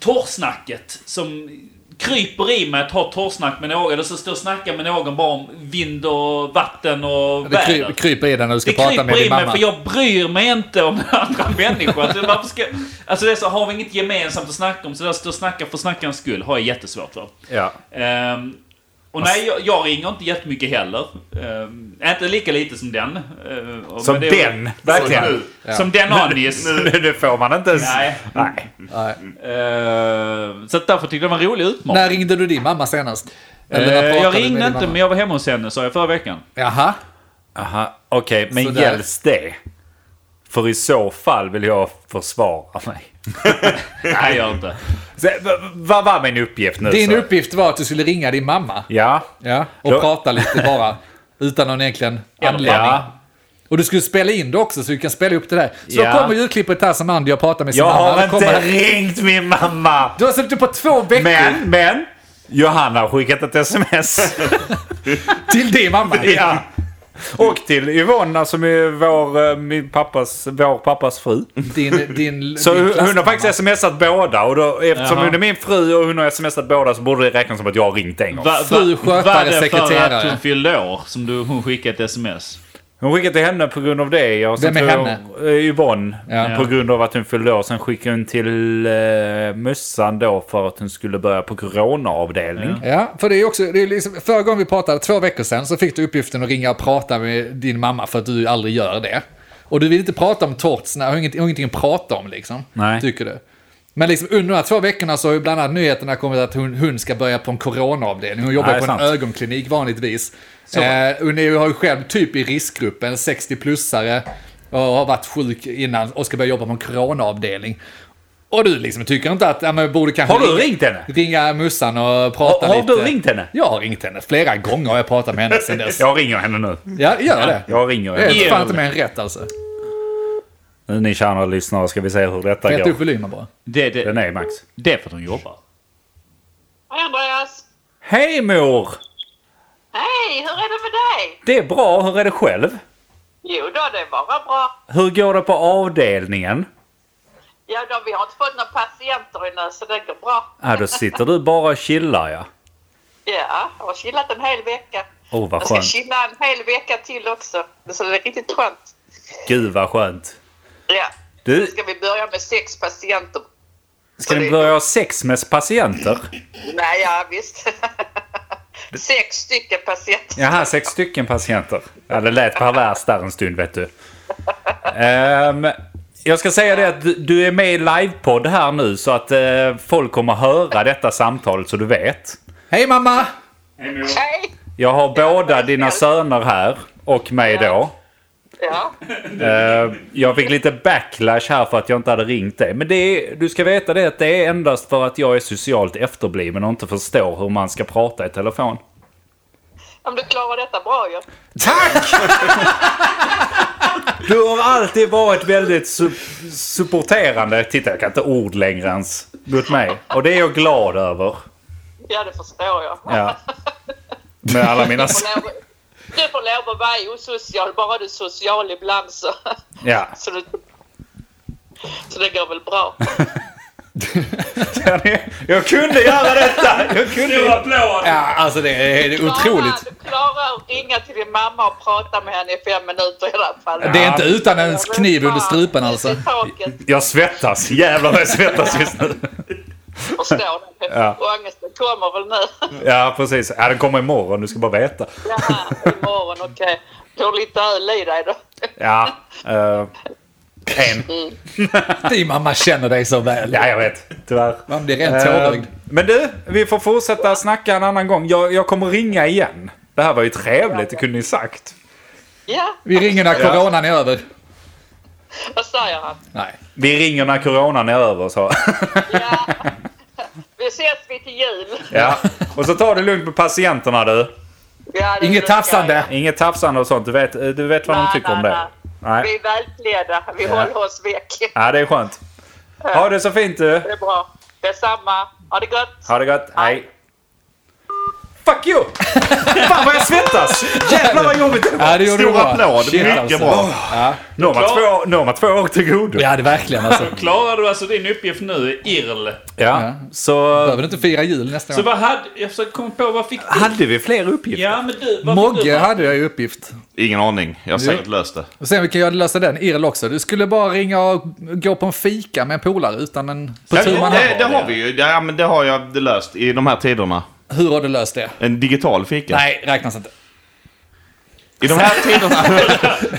D: torrsnacket som kryper i mig att ha torrsnack med någon, eller så står och snackar med någon bara om vind och vatten och
C: Det
D: väder.
C: kry, kryper i dig när du ska
D: Det
C: prata med
D: kryper i
C: din
D: mig
C: mamma.
D: för jag bryr mig inte om andra människor. Alltså, varför ska, alltså det är så, har vi inget gemensamt att snacka om så där står och snackar för snackans skull har jag jättesvårt för.
B: Ja.
D: Ehm, och nej, jag, jag ringer inte jättemycket heller. Ehm, inte lika lite som den. Ehm, och-
B: Som
D: men det är-
B: den. Verkligen.
D: Som den Anis.
B: Nu, nu får man inte ens...
D: nej.
B: Nej.
C: Nej.
D: Ehm, så att därför tyckte jag det var en rolig utmaning.
C: När ringde du din mamma senast? Eller
B: Eh,
C: när
D: Ehm, jag
C: pratade du
D: ringde
C: med din
D: inte,
C: mamma?
D: men jag var hemma hos henne sa jag förra veckan.
C: Jaha.
B: Aha, okej. men
C: Sådär.
B: gälls det? För i så fall vill jag försvara mig.
D: Nej, jag gör inte.
B: Så, v- v- Vad var min uppgift nu?
C: Din
B: så?
C: uppgift var att du skulle ringa din mamma.
B: Ja.
C: Ja. Och
B: Då-
C: prata lite bara. Utan någon egentligen anledning.
B: Ja.
C: Och du skulle spela in det också så du kan spela upp det där. Så
B: Ja.
C: kommer ljudklippet här som Andy har pratat med sin
B: Jag
C: mamma.
B: har
C: Det kommer-
B: inte ringt min mamma.
C: Du har suttit på två veckor
B: Men, men. Johanna har skickat ett sms.
C: till din mamma.
B: ja. Och till Yvonna som är vår, eh, min pappas, vår pappas fru.
C: Din, din,
B: Så
C: din
B: hon hon har
C: klassmamma.
B: faktiskt smsat båda och då, eftersom
D: Jaha.
B: hon är min fru och hon har smsat båda så borde det räknas som att jag har ringt en gång.
D: Va-
C: Fru skötare,
D: var det för att
C: sekreterare.
D: hon fyllde år som du, hon skickade ett sms?
B: Hon skickade till henne på grund av det. Jag eh,
C: Vem är
B: Yvonne.
C: Ja.
B: På grund av att hon fyllde år. Sen skickade hon till eh, mössan då för att hon skulle börja på coronaavdelning.
C: Ja, för det är också, det är liksom, förra gången vi pratade, två veckor sedan, så fick du uppgiften att ringa och prata med din mamma för att du aldrig gör det. Och du vill inte prata om tortsna, har ingenting, har ingenting att prata om liksom.
B: Nej.
C: Tycker du. Men liksom, under de här två veckorna så har ju bland annat nyheterna kommit att hon, hon ska börja på en coronaavdelning. Hon jobbar
B: Nej,
C: på
B: sant.
C: en ögonklinik vanligtvis. Eh, hon är, ju- har ju själv typ i riskgruppen, 60-plussare, och har varit sjuk innan och ska börja jobba på en coronaavdelning. Och du liksom tycker inte att, ja men borde kanske...
B: Har du
C: ringa-
B: ringt henne?
C: Ringa mussan och prata
B: Har- har
C: lite.
B: du ringt henne?
C: Jag har ringt henne. Flera gånger har jag pratat med henne sedan dess.
B: Jag ringer henne nu.
C: Ja, gör det.
B: Jag ringer
C: Det
B: henne.
C: är fan inte mer än rätt alltså.
B: Nu ni kära lyssnare ska vi se hur detta
C: Rätt
B: går.
C: upp volymen bara.
D: Det, det,
B: Den är Max.
D: det är för att hon jobbar.
F: Hej Andreas!
B: Hej mor!
F: Hej, hur är det med dig?
B: Det är bra. Hur är det själv?
F: Jo då, det är bara bra.
B: Hur går det på avdelningen?
F: Ja då, vi har inte fått några patienter ännu så det går bra.
B: Ja, då sitter du bara och chillar ja.
F: Ja, jag har chillat en hel vecka.
B: Åh, vad
F: jag ska
B: skönt.
F: chilla en hel vecka till också. Så det är riktigt skönt.
B: Gud vad skönt.
F: Ja.
B: Du,
F: Ska vi börja med sex patienter?
B: ska ni börja ha sex med patienter?
F: Nej, ja visst. sex stycken patienter.
B: Jaha, sex stycken patienter. Ja, det lät perverst där en stund, vet du. Ehm, jag ska säga det att du- du är med i livepodd här nu så att eh, folk kommer höra detta samtalet så du vet.
C: Hej mamma!
D: Hej, mor.
F: Nej.
B: Jag har båda dina söner här och mig då.
F: Ja.
B: Eh, jag fick lite backlash här för att jag inte hade ringt dig. Men det är, du ska veta det att det är endast för att jag är socialt efterbliven och inte förstår hur man ska prata i telefon.
F: Om du klarar detta bra ju.
C: Tack!
B: Du har alltid varit väldigt su- supporterande. Titta, jag kan inte ord längre ens. Mot mig. Och det är jag glad över.
F: Ja, det förstår jag.
B: Ja. Med alla mina...
F: Du får lov- Du får lov att vara osocial, bara du är social ibland så,
B: Ja.
F: så, du, så det går väl bra.
B: Jag kunde göra detta! Jag
D: Stor
B: kunde...
D: applåd!
C: Ja, alltså det är, det är otroligt.
F: Klara, du klarar att ringa till din mamma och prata med henne i fem minuter i alla fall.
C: Det är inte utan en kniv under strupen alltså.
F: I taket,
B: Jag svettas. Jävlar vad jag svettas just nu.
F: förstår du.
B: Ja.
F: Och Ångesten kommer väl nu.
B: Ja, precis. Ja, den kommer imorgon. Du ska bara veta.
F: Ja, imorgon, okej. Du har lite öl i dig då.
B: Ja. eh, en.
C: Din mamma känner dig så väl.
B: Ja, jag vet. Tyvärr.
C: Man blir rent tårögd.
B: Eh, Men du, vi får fortsätta snacka en annan gång. Jag, jag kommer ringa igen. Det här var ju trevligt, det kunde ni sagt.
F: Ja,
C: Vi ringer när coronan är över.
F: vad säger han?
C: Nej.
B: Vi ringer när coronan är över, så.
F: Ja. Vi ses vid till jul.
B: Ja. Och så tar det lugnt med patienterna du.
F: Ja, det är
C: Inget
F: okej.
C: tafsande.
B: Inget tafsande och sånt. Du vet, du vet vad de
F: Nej,
B: tycker
F: nej,
B: om det.
F: nej. Vi
B: Nej.
F: är välklädda. Vi håller oss väck.
B: Ja, det är skönt. Ha det så fint du.
F: Det är bra. Detsamma. Ha det gott.
B: Ha det gott. Hej. Fuck you! Fan vad jag svettas! Jävlar vad jobbigt det var.
C: Ja, det gjorde
E: Stor
C: du bra. alltså.
E: applåd, mycket
B: alltså.
E: bra.
B: Nu har man två- nu har man två år till godo.
C: Ja, det verkligen alltså.
D: Klarar du alltså din uppgift nu, IRL?
B: Ja, så...
C: Behöver du inte fira jul nästa
D: Så
C: gång?
D: vad hade... Jag försöker komma på, vad fick du?
B: Hade vi fler uppgifter?
D: Ja, men du... vad fick
C: Mogge
D: du?
C: hade jag i uppgift.
E: Ingen aning. Jag har säkert löst det.
C: Och sen vi kan jag lösa den, Irl också. Du skulle bara ringa och gå på en fika med en polare utan en... På
E: Det,
C: tur man
E: det, det
C: har.
E: har vi ju. Ja, men det har jag löst i de här tiderna.
C: Hur har du löst det?
E: En digital fika.
C: Nej, räknas inte.
E: I de här tiderna,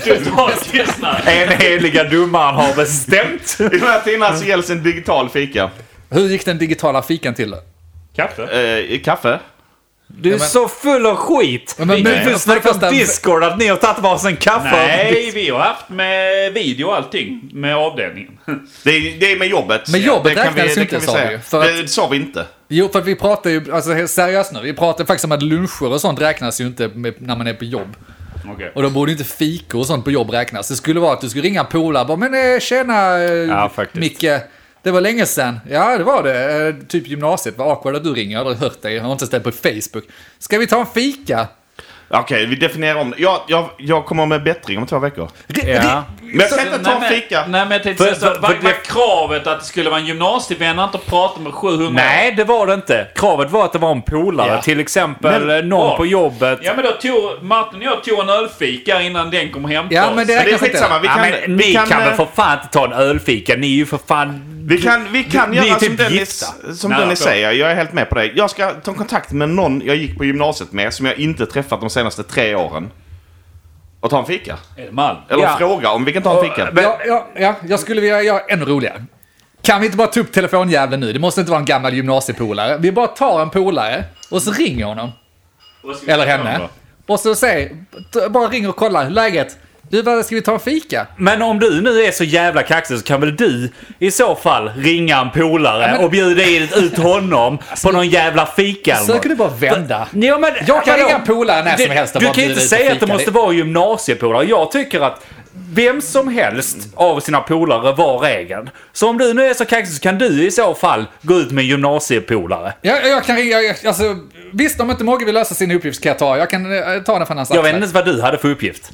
D: Total tystnad.
B: En heliga domaren har bestämt.
E: i de här tiderna så gälls en digital fika.
C: Hur gick den digitala fikan till då?
D: Kaffe?
E: Eh, kaffe?
B: Du är
C: men-
B: så full av skit.
C: Ja, men-
B: du
C: men-
B: du
C: för det
B: snackar
C: första-
B: Discord att ni har tagit varsin kaffe.
D: Nej, vi har haft med video och allting. Med avdelningen.
E: Det är, det är med jobbet.
C: Men
E: det
C: jobbet
E: kan
C: räknas
E: vi-
C: ju
E: det
C: inte,
E: kan vi
C: sa
E: säga.
C: vi ju, för att-
E: Det sa vi inte.
C: Jo, för att vi pratar ju, alltså helt seriöst nu, vi pratar faktiskt om att luncher och sånt räknas ju inte med, när man är på jobb.
D: Okej.
C: Och då borde ju inte fikor och sånt på jobb räknas. Det skulle vara att du skulle ringa en polare och bara, men eh, tjena eh,
B: Ja, faktiskt.
C: Micke. Det var länge sedan. Ja, det var det. Eh, Typ gymnasiet. Vad awkward att du ringer. Jag har aldrig hört dig. Jag har inte ens ställt på Facebook. Ska vi ta en fika?
E: Okej, vi definierar om det. Jag, jag, jag kommer med bättring om två veckor.
B: Ja.
E: Men jag kan inte ta en
D: men-
E: fika.
D: Nej, men jag tänkte
B: För-
D: säga så,
B: för-
D: vad
B: för-
D: var kravet att det skulle vara en gymnasievän och inte prata med 700?
B: Nej, det var det inte. Kravet var att det var en polare.
D: Ja.
B: Till exempel eh,
D: Men-
B: någon
D: Ja.
B: på jobbet.
D: Ja, men då tog Martin och jag tog en ölfika innan den kom och hämtade
C: Ja,
D: oss.
C: men det
E: Men det är
C: räknas
E: skitsamma.
C: inte.
E: Vi
B: Ja,
E: kan,
B: men
E: vi
B: ni kan,
E: kan,
B: väl
E: eh,
B: för fan inte ta en ölfika? Ni är ju för fan...
E: Vi kan, vi kan
B: Ni- ni
E: göra
B: är
E: som
B: typ
E: Dennis,
B: gifta.
E: som
D: Nej,
E: Dennis
D: förlåt.
E: säger. Jag är helt med på det. Jag ska ta kontakt med någon jag gick på gymnasiet med som jag inte träffat de senaste tre åren. Och ta en fika.
D: Är det Malm?
E: Eller
B: Ja.
E: fråga om vi kan ta en fika.
C: Ja, ja, ja, jag skulle vilja göra ännu roligare. Kan vi inte bara ta upp telefonjäveln nu? Det måste inte vara en gammal gymnasiepolare. Vi bara tar en polare och så ringer honom.
D: Vad ska vi
C: Eller
D: göra då?
C: henne. Och så säg, t- bara ring och kolla läget. Du, vad ska vi ta en fika?
B: Men om du nu är så jävla kaxig så kan väl du i så fall ringa en polare och bjuda in ut honom på någon jävla fika eller
C: Alltså, Försöker du
B: något?
C: bara vända?
B: Ja, men,
C: Jag kan
B: vadå?
C: ringa en polare när som
B: Det-
C: helst och
B: Du
C: bara
B: kan ju
C: bjuda
B: inte
C: ut och
B: säga att det
C: fika.
B: måste vara gymnasiepolare. Jag tycker att vem som helst av sina polare var regeln. Så om du nu är så kaxig så kan du i så fall gå ut med en gymnasiepolare.
C: Ja, ja, jag kan ringa, jag- alltså, visst om inte Mogge vill lösa sin uppgift ska jag ta, jag kan eh, ta den från hans
B: Jag vet
C: axlar.
B: inte ens vad du hade för uppgift.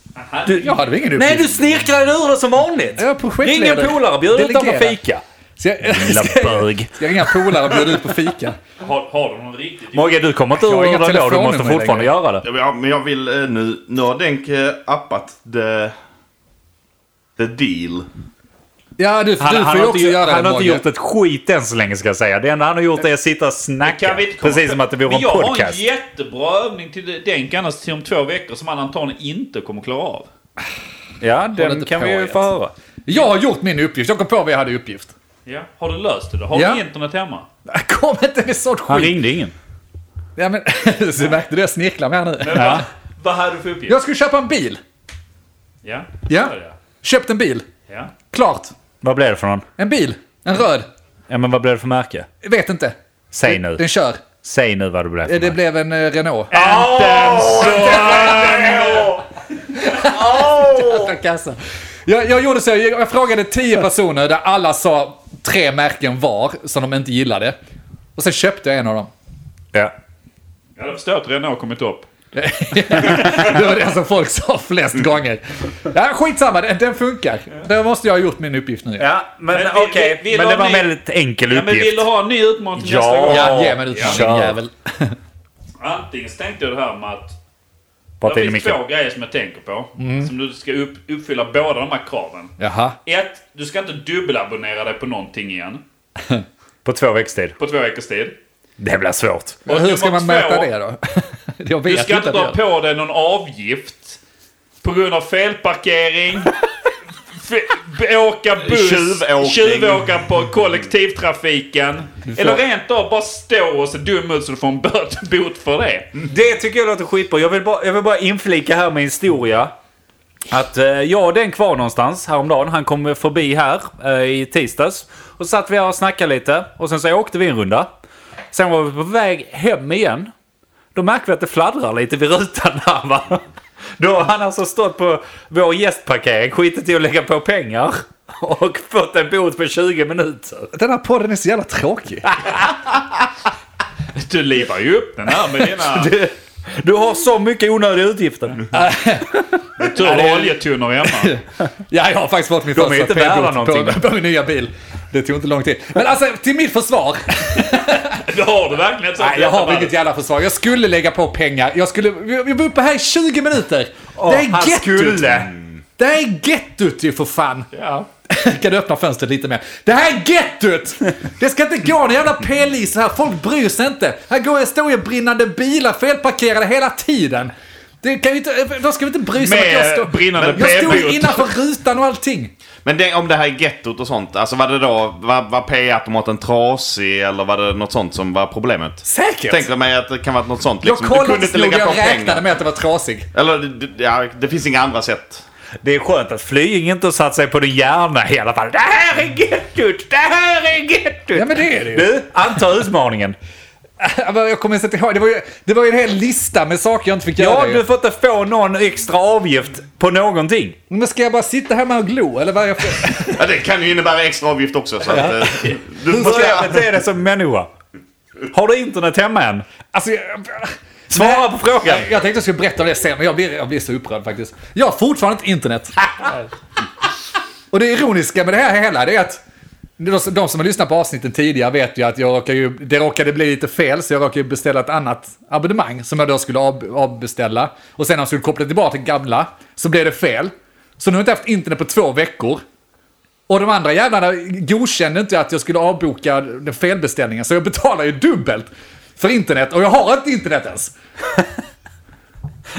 B: Du,
C: Jag hade väl ingen
B: nej,
C: uppgift.
B: du snirklade ur det som vanligt.
C: Jag är projektledare.
B: Ring en polare, bjud ut dem på
C: Delegera.
B: fika.
C: Så jag,
B: Lilla
C: ska jag-
B: bög.
C: Ska jag ringa en polare och bjuda ut på fika?
D: Har, har du någon riktigt...
B: Mogge, du kommer inte
C: Jag har
B: ur
C: inga
B: det då. Du
C: telefonnummer
B: måste fortfarande
C: längre.
B: göra det.
E: Ja, men jag vill eh, nu... Nu har Denk eh, appat the... The deal.
C: Ja, du,
B: Han,
C: du får
B: han,
C: ju
B: har,
C: också
B: inte, gjort-
C: göra
B: han
C: det
B: har inte
C: Mogge.
B: gjort ett skit än så länge ska jag säga. Det enda han har gjort är att sitta och snacka.
D: Kan vi inte komma-
B: Precis som att det vore
D: Men
B: en
D: jag har en
B: podcast.
D: jättebra övning till Denk annars till alltså om två veckor som han antagligen inte kommer klara av.
B: Ja, den
C: inte
B: kan
C: på
B: vi ju
C: ert.
B: få höra.
C: Jag har gjort min uppgift. Jag kom på vad jag hade i uppgift.
D: Ja. Har du löst det då? Har
C: Ja.
D: du internet hemma?
C: Kom inte med sånt
B: Han
C: skit.
B: ringde ingen.
C: Ja, men, så märkte du jag snicklar med här nu.
B: Ja.
D: Vad hade du för uppgift?
C: Jag skulle köpa en bil.
D: Ja.
C: Ja.
D: Ja.
C: Köpt en bil.
D: ja.
C: Klart.
B: Vad blev det för någon?
C: En bil. En röd.
B: Ja, men vad blev det för märke?
C: Vet inte.
B: Säg
C: Den-
B: nu.
C: Den kör. Eh,
B: Säg nu vad det blev för
C: Det
B: märke.
C: blev en eh, Renault. Jävla kassa. Jag, jag gjorde så, jag, jag frågade tio personer där alla sa tre märken var som de inte gillade. Och sen köpte jag en av dem.
B: Ja.
D: Jag hade förstått redan när jag kommit upp.
C: Det var det som folk sa flest gånger. Ja, skitsamma, den, den funkar. Då måste jag ha gjort min uppgift nu.
B: Ja, men,
D: Men vi-
B: okej.
D: vi- vi
B: Men
D: la
B: det var en
D: ner-
B: väldigt enkel
D: Ja, men
B: uppgift.
D: vill du ha en ny utmaning till
B: Ja.
D: nästa gång?
C: Ja, ge mig en utmaning,
B: Kör.
C: jävel.
D: Antingen så tänkte jag det här med att
B: Prata
D: det
B: in i
D: finns
B: micken. Mm.
D: två grejer som jag tänker på. Som du ska upp, uppfylla båda de här kraven.
C: Jaha.
D: Ett, du ska inte dubbelabonnera dig på någonting igen.
B: På två veckors tid.
D: På två veckors tid.
B: Det blir svårt.
C: Och hur ska
D: nummer
C: man mäta
D: två.
C: det då? Jag
D: Du
C: vet
D: ska
C: inte
D: inte
C: att det
D: dra
C: gör.
D: på dig någon avgift. På grund av felparkering. fe- åka buss.
E: Tjuvåkning.
D: Tjuvåka på kollektivtrafiken. Eller rent av bara stå och se dum ut så du får en böt- bot för det.
B: Det tycker jag låter skitbra. Jag vill bara, jag vill bara inflika här med historia. Att eh, jag och den kvar någonstans häromdagen. Han kom förbi här eh, i tisdags. Och satt vi här och snackade lite. Och sen så åkte vi en runda. Sen var vi på väg hem igen. Då märker vi att det fladdrar lite vid rutan här va. Då har han alltså stått på vår gästparkering, skitit i att lägga på pengar. Och fått en bot på 20 minuter.
C: Den här podden är så jävla tråkig.
D: Du livar ju upp den här med dina...
B: Du, du har så mycket onödiga utgifter.
D: Tur att ha oljetunnor hemma.
C: Ja, jag har faktiskt fått min
B: De är
C: första
B: inte värda
C: p-bot på,
B: någonting.
C: på min nya bil. Det tog inte lång tid. Men alltså, till mitt försvar.
D: Du har du verkligen ett sånt
C: Nej, jag har
D: jätteball.
C: inget jävla försvar. Jag skulle lägga på pengar. Jag skulle... Vi var uppe här i 20 minuter. det är
B: han
C: gettot.
B: skulle.
C: Det här är gettot ju för fan.
D: Ja.
C: Kan du öppna fönstret lite mer? Det här är gettot! Det ska inte gå någon jävla pelis här. Folk bryr sig inte. Här går jag står ju brinnande bilar felparkerade hela tiden. Det kan ju inte, de ska vi inte bry sig om att jag
D: Med
C: står...
D: brinnande
C: Jag stod ju
D: p-bot.
C: innanför rutan och allting.
E: Men det, om det här är gettot och sånt, alltså var det då, var, var p-automaten trasig eller var det något sånt som var problemet?
C: Säkert!
E: Tänkte mig att det kan vara något sånt
C: jag
E: liksom. Du kunde
C: kollade
E: inte
C: så noga,
E: lägga på
C: jag räknade
E: pengar.
C: med att det var trasig.
E: Eller, d- d- ja, det finns inga andra sätt.
B: Det är skönt att Flying inte har satt sig på din hjärna i alla fall. Det här är gettot! Det här är gettot!
C: Ja men det är det ju.
B: Du, anta utmaningen.
C: Ja, men Alltså, Jag kommer inte ihåg. Det var, ju, det var ju en hel lista med saker jag inte fick
B: Ja,
C: göra. ju.
B: du får inte få någon extra avgift på någonting.
C: Men ska jag bara sitta hemma och glo? Eller vad är jag för...
E: Ja, det kan ju innebära extra avgift också. Så att, eh, du
B: Hur
E: får
B: ska
E: säga.
B: jag bete dig som människa? Har du internet hemma än?
C: Alltså, jag...
B: Svara på frågan!
C: Jag, jag tänkte jag skulle berätta om det sen, men jag blir, jag blir så upprörd faktiskt. Jag har fortfarande inte internet. och det ironiska med det här hela, det är att de, de som har lyssnat på avsnitten tidigare vet ju att jag råkar ju, det råkade bli lite fel, så jag råkade ju beställa ett annat abonnemang som jag då skulle av, avbeställa. Och sen när jag skulle koppla tillbaka till gamla, så blev det fel. Så nu har jag inte haft internet på två veckor. Och de andra jävlarna godkände inte att jag skulle avboka den felbeställningen, så jag betalar ju dubbelt för internet. Och jag har inte internet ens.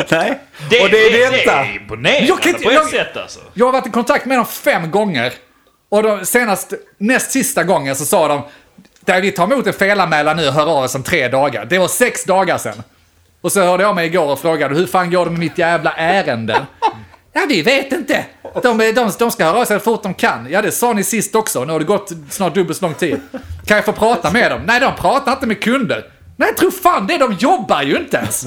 B: Nej. Och det är detta.
D: Det är imponerande
C: Jag kan inte-
D: på ett
C: jag-
D: sätt alltså.
C: Jag har varit i kontakt med dem fem gånger. Och de senast, näst sista gången så sa de där vi tar emot en felanmälan nu, hör av oss om tre dagar. Det var sex dagar sedan. Och så hörde jag mig igår och frågade hur fan går det med mitt jävla ärende? Ja, vi vet inte. De, de, de ska höra av sig så fort de kan. Ja, det sa ni sist också. Nu har det gått snart dubbelt så lång tid. Kan jag få prata med dem? Nej, de pratar inte med kunder. Nej, tro fan det. De jobbar ju inte ens.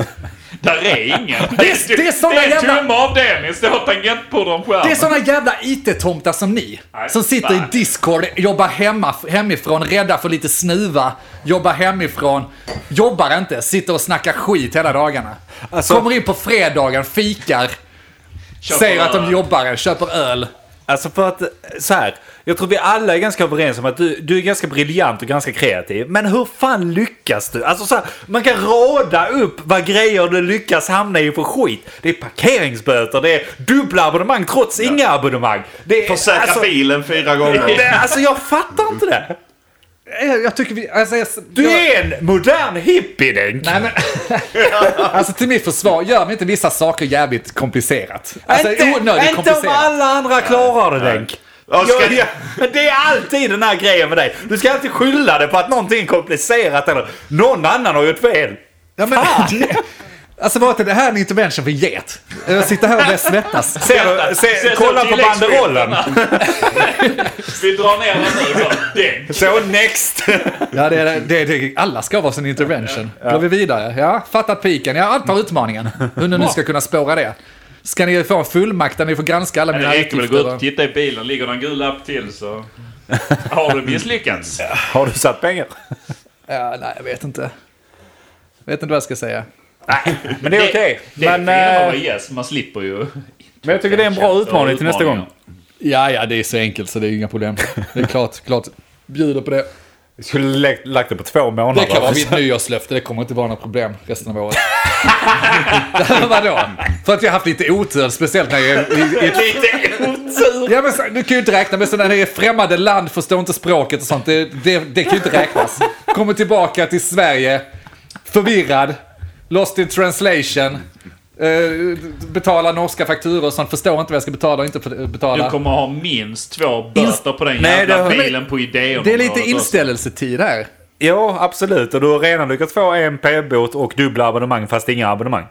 D: Där är ingen.
C: Det är- det är såna
D: Det är
C: jävla-
D: tomma avdelningen. Står tangentbordet om
C: Det är
D: skärmen.
C: såna jävla IT-tomtar som ni.
D: Nej,
C: Som sitter i
D: fan.
C: Discord, jobbar hemma, hemifrån, rädda för lite snuva, jobbar hemifrån, jobbar inte, sitter och snackar skit hela dagarna. Kommer in på fredagen, fikar,
D: Köper
C: säger att
D: öl.
C: de jobbar, köper öl.
B: Alltså för att, så här, jag tror vi alla är ganska överens om att du, du är ganska briljant och ganska kreativ. Men hur fan lyckas du? Alltså så här, man kan rada upp vad grejer du lyckas hamna i för skit. Det är parkeringsböter, det är dubbla abonnemang trots inga abonnemang. Det är,
E: Försäkra
B: alltså,
E: bilen fyra gånger.
B: det, alltså jag fattar inte det.
C: Jag, jag tycker vi... Alltså, jag,
B: Du
C: jag-
B: är en modern hippie Denk.
C: Nej, men, alltså till mitt försvar, gör mig inte vissa saker jävligt komplicerat. Alltså
B: inte
C: onödigt
B: inte om
C: komplicerat.
B: alla andra klarar det Denk.
E: Ja, ska
B: Jag-
E: jag-
B: Men det är alltid den här grejen med dig. Du ska alltid skylla det på att någonting är komplicerat eller någon annan har gjort fel.
C: Ja, men, alltså var inte det här en intervention för get? Jag sitter här och börjar svettas.
B: Ser du?
D: Ser
B: Se,
D: du
B: kolla på banderollen.
D: Vi drar ner den nu så. Däng.
B: Så next.
C: Ja, det, är- det, det, alla ska vara sin intervention. Går vi vidare? Ja, fattat piken. Jag antar utmaningen. Hur ni nu ska kunna spåra det. Ska ni få en fullmakt där ni får granska alla
D: Det
C: mina
D: räcker väl att gå ut
C: utgifter?
D: och titta i bilen. Ligger det en gul lapp till så har du misslyckats.
B: Har du satt pengar?
C: Ja, nej, jag vet inte. Jag vet inte vad jag ska säga.
B: Men det är okej.
D: Det är
B: Men,
D: fina
B: eh,
D: vara yes, man slipper ju.
B: men jag tycker det är en bra
D: Känsla
B: utmaning till nästa gång.
D: utmaningar.
C: Ja, ja, det är så enkelt så det är inga problem. Det är klart, klart. Bjuder på det.
B: Vi skulle lagt, lagt det på två månader.
C: Det kan vara mitt nyårslöfte, det kommer inte vara några problem resten av året. Vadå? För att vi har haft lite otur, speciellt när jag är i, i
E: Lite otur.
C: Ja, men så, du kan ju inte räkna med sådana när det är främmande land, förstår inte språket och sånt. Det, det, det kan ju inte räknas. Kommer tillbaka till Sverige, förvirrad, lost in translation, eh, betalar norska fakturor och sånt, förstår inte vad jag ska betala och inte för-
D: Du
C: betala.
D: kommer ha minst två böter på den
B: Nej,
D: jävla
B: det-
D: bilen på idén.
C: Det är lite inställelsetid här.
B: Ja, absolut. Och du har redan lyckats få en p-bot och dubbla abonnemang fast inga abonnemang.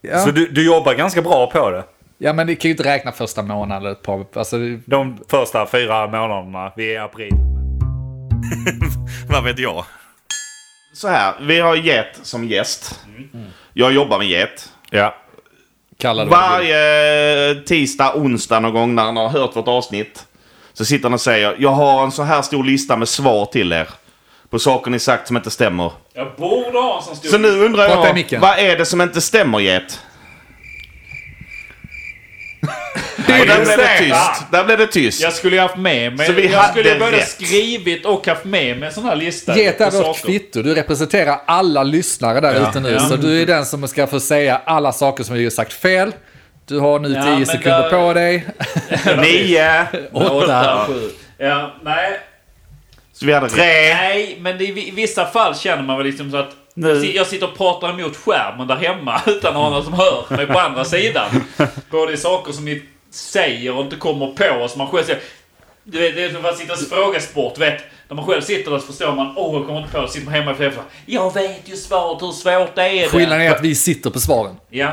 C: Ja.
B: Så du, du jobbar ganska bra på det.
C: ja, men det kan ju inte räkna första månaden eller ett par... Alltså,
B: De första fyra månaderna, vi är i april.
A: Vad vet jag?
E: Så här, vi har Jet som gäst.
C: Mm.
E: Jag jobbar med Jet.
B: Ja.
C: kalla det vad du vill.
E: Varje tisdag, onsdag någon gång när han har hört vårt avsnitt så sitter han och säger jag har en så här stor lista med svar till er på saker ni sagt som inte stämmer.
D: Jag borde ha en sån stor...
E: Så nu undrar
C: Prata i
E: jag,
C: micken.
E: vad är det som inte stämmer Jet? Och där blev det tyst. Där blev det tyst.
D: Jag skulle ju haft med mig...
E: Så vi
D: jag
E: hade
D: skulle ju både
E: rätt.
D: skrivit och haft med mig en sån här lista.
C: Get är
D: på
C: vårt
D: saker.
C: kvitto. Du representerar alla lyssnare där ute nu.
D: Ja.
C: Så du är den som ska få säga alla saker som vi har sagt fel. Du har nu 10
D: Ja, men
C: sekunder
D: där-
C: på dig.
E: Nio.
D: Åtta, sju. Ja, nej.
E: Så vi hade tre.
D: Nej, men det, är i vissa fall känner man väl liksom så att jag sitter och pratar emot skärmen där hemma utan att ha någon som hör mig på andra sidan. Både i saker som ni säger och inte kommer på och som man själv säger. Du vet, det är som att sitta och fråga sport, vet. När man själv sitter där så förstår man, åh, jag kommer inte på det. Sitter man hemma i flera fall, jag vet ju svaret, hur svårt det är det?
C: Skillnaden är att vi sitter på svaren.
D: Ja,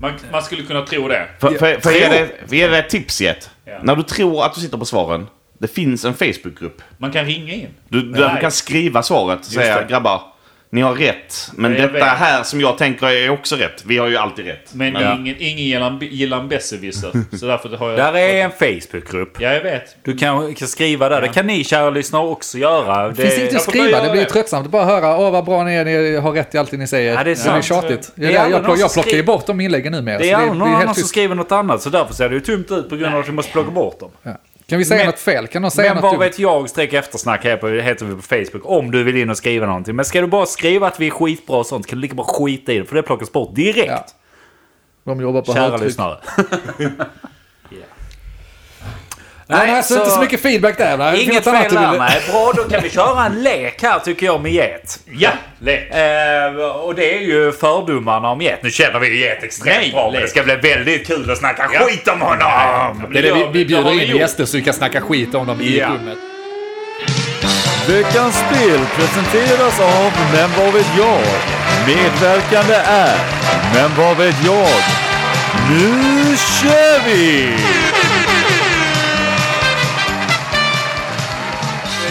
D: man, man skulle kunna tro det.
E: För, för, för, ge dig- för ge dig ett tips Jet.
D: Ja.
E: När du tror att du sitter på svaren. Det finns en Facebookgrupp.
D: Man kan ringa in.
E: Du, där
D: Nej.
E: du kan skriva svaret och
D: det.
E: säga grabbar, ni har rätt. Men
D: Ja, jag
E: detta
D: vet.
E: här som jag tänker är också rätt. Vi har ju alltid rätt.
D: Men
E: Men-
D: ingen, ingen gillar en, gillar en besserwisser. Så därför har jag...
B: Där är en Facebookgrupp.
D: Ja, jag vet.
B: Du kan, kan skriva där. Det kan ni kära lyssnare också göra. Det,
C: Finns inget att
D: jag får börja
C: skriva, det
D: göra
C: blir ju
D: det.
C: tröttsamt. Bara höra, åh vad bra ni är, ni har rätt i allt det ni säger.
B: Ja, det är
C: Men
B: sant.
C: tjatigt.
B: Det är
C: Ja,
B: aldrig
C: jag,
B: någon
C: plock,
B: som
C: jag plockar ju
B: skriver-
C: bort de inläggen numera.
B: det
C: så
B: är aldrig någon annan som
C: tyst.
B: skriver något annat så därför ser det ju tomt ut på grund av att vi måste plocka bort dem.
C: Ja. Kan vi säga
B: Men-
C: något fel? Kan någon säga
B: Men
C: något
B: vad
C: dumt?
B: vet jag streck eftersnack här på, heter vi på Facebook om du vill in och skriva någonting. Men ska du bara skriva att vi är skitbra och sånt kan du lika bra skita i det för det plockas bort direkt.
C: Ja. De jobbar på
B: Kära
C: högtryck.
B: lyssnare.
C: Nej, men alltså inte så mycket feedback där. va? Finns
B: Inget
C: något annat
B: fel
C: du
B: där,
C: vill-
B: nej. Bra, då kan vi köra en lek här tycker jag med get.
D: Ja, lek.
B: Eh, och det är ju fördomarna om get. Nu känner vi ju get
D: Nej,
B: extremt bra. men
D: lek.
B: Det ska bli väldigt kul att snacka skit om honom!
C: Det är det vi,
D: Ja,
C: vi
D: det har vi
C: bjuder in
D: gjort.
C: gäster så vi kan snacka skit om dem i
B: Ja.
C: rummet.
B: Veckans spel presenteras av Men vad vet jag? Medverkande är Men vad vet jag? Nu kör vi!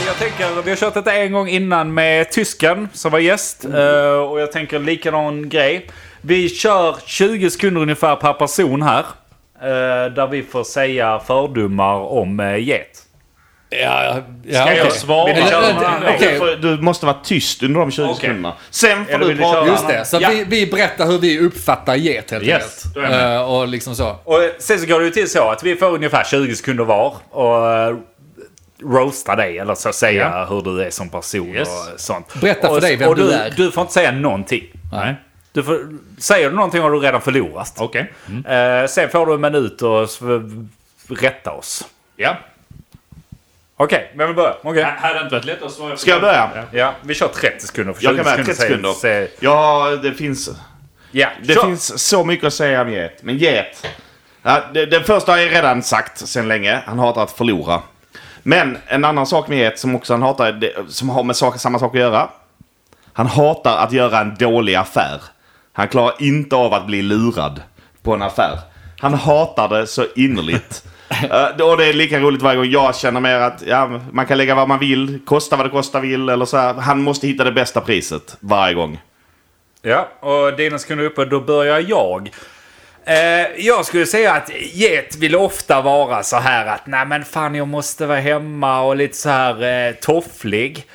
B: Jag tänker, vi har kört detta en gång innan med tysken som var gäst. eh, Och jag tänker likadan grej. Vi kör 20 sekunder ungefär per person här. eh, Där vi får säga fördomar om eh, get.
C: Ja, ja, ja,
D: Ska jag
C: okej.
D: svara?
C: Eller-
D: Eller-
C: eller-
E: Du,
C: Okej,
E: får, du måste vara tyst under de 20
D: Okej.
E: sekunderna. Sen får
A: Eller
E: du
A: vill du
E: prata.
A: köra?
E: Just
C: just det. Så
D: Ja.
C: vi, vi berättar hur vi uppfattar get helt
B: Yes,
C: enkelt.
D: då är jag med.
C: Eh, och liksom så.
B: Och sen så går det ju till så att vi får ungefär 20 sekunder var och eh, roasta dig eller så säga hur du är som person
D: Yes.
B: och sånt.
C: Berätta för
B: och,
C: dig vem
B: och
C: du är.
B: Du får inte säga någonting.
C: Nej.
B: Du får, säger du någonting har du redan förlorat.
D: Okej.
B: Eh, sen får du en minut och s- rätta oss.
D: Ja.
B: Okej, vem vill börja? Okej.
D: Här hade det inte varit lätt att svara.
E: Ska jag börja?
B: Ja, vi kör 30 sekunder. För
E: Jag
B: 20
E: kan börja 30
B: säger-
E: sekunder.
B: säger-
E: Ja, det finns...
B: Ja,
E: Det
B: kör.
E: finns så mycket att säga om get. Men get. Ja, det, den första har jag redan sagt sen länge. Han hatar att förlora. Men en annan sak med get som också han hatar, det, som har med saker, samma sak att göra. Han hatar att göra en dålig affär. Han klarar inte av att bli lurad på en affär. Han hatar det så innerligt. Eh, och det är lika roligt varje gång jag känner mer att ja, man kan lägga vad man vill, kosta vad det kosta vill eller så här. Han måste hitta det bästa priset varje gång.
B: Ja, och dina sekunder är uppe, då börjar jag. Eh, jag skulle säga att get vill ofta vara så här att nej men fan jag måste vara hemma och lite så här eh, tofflig.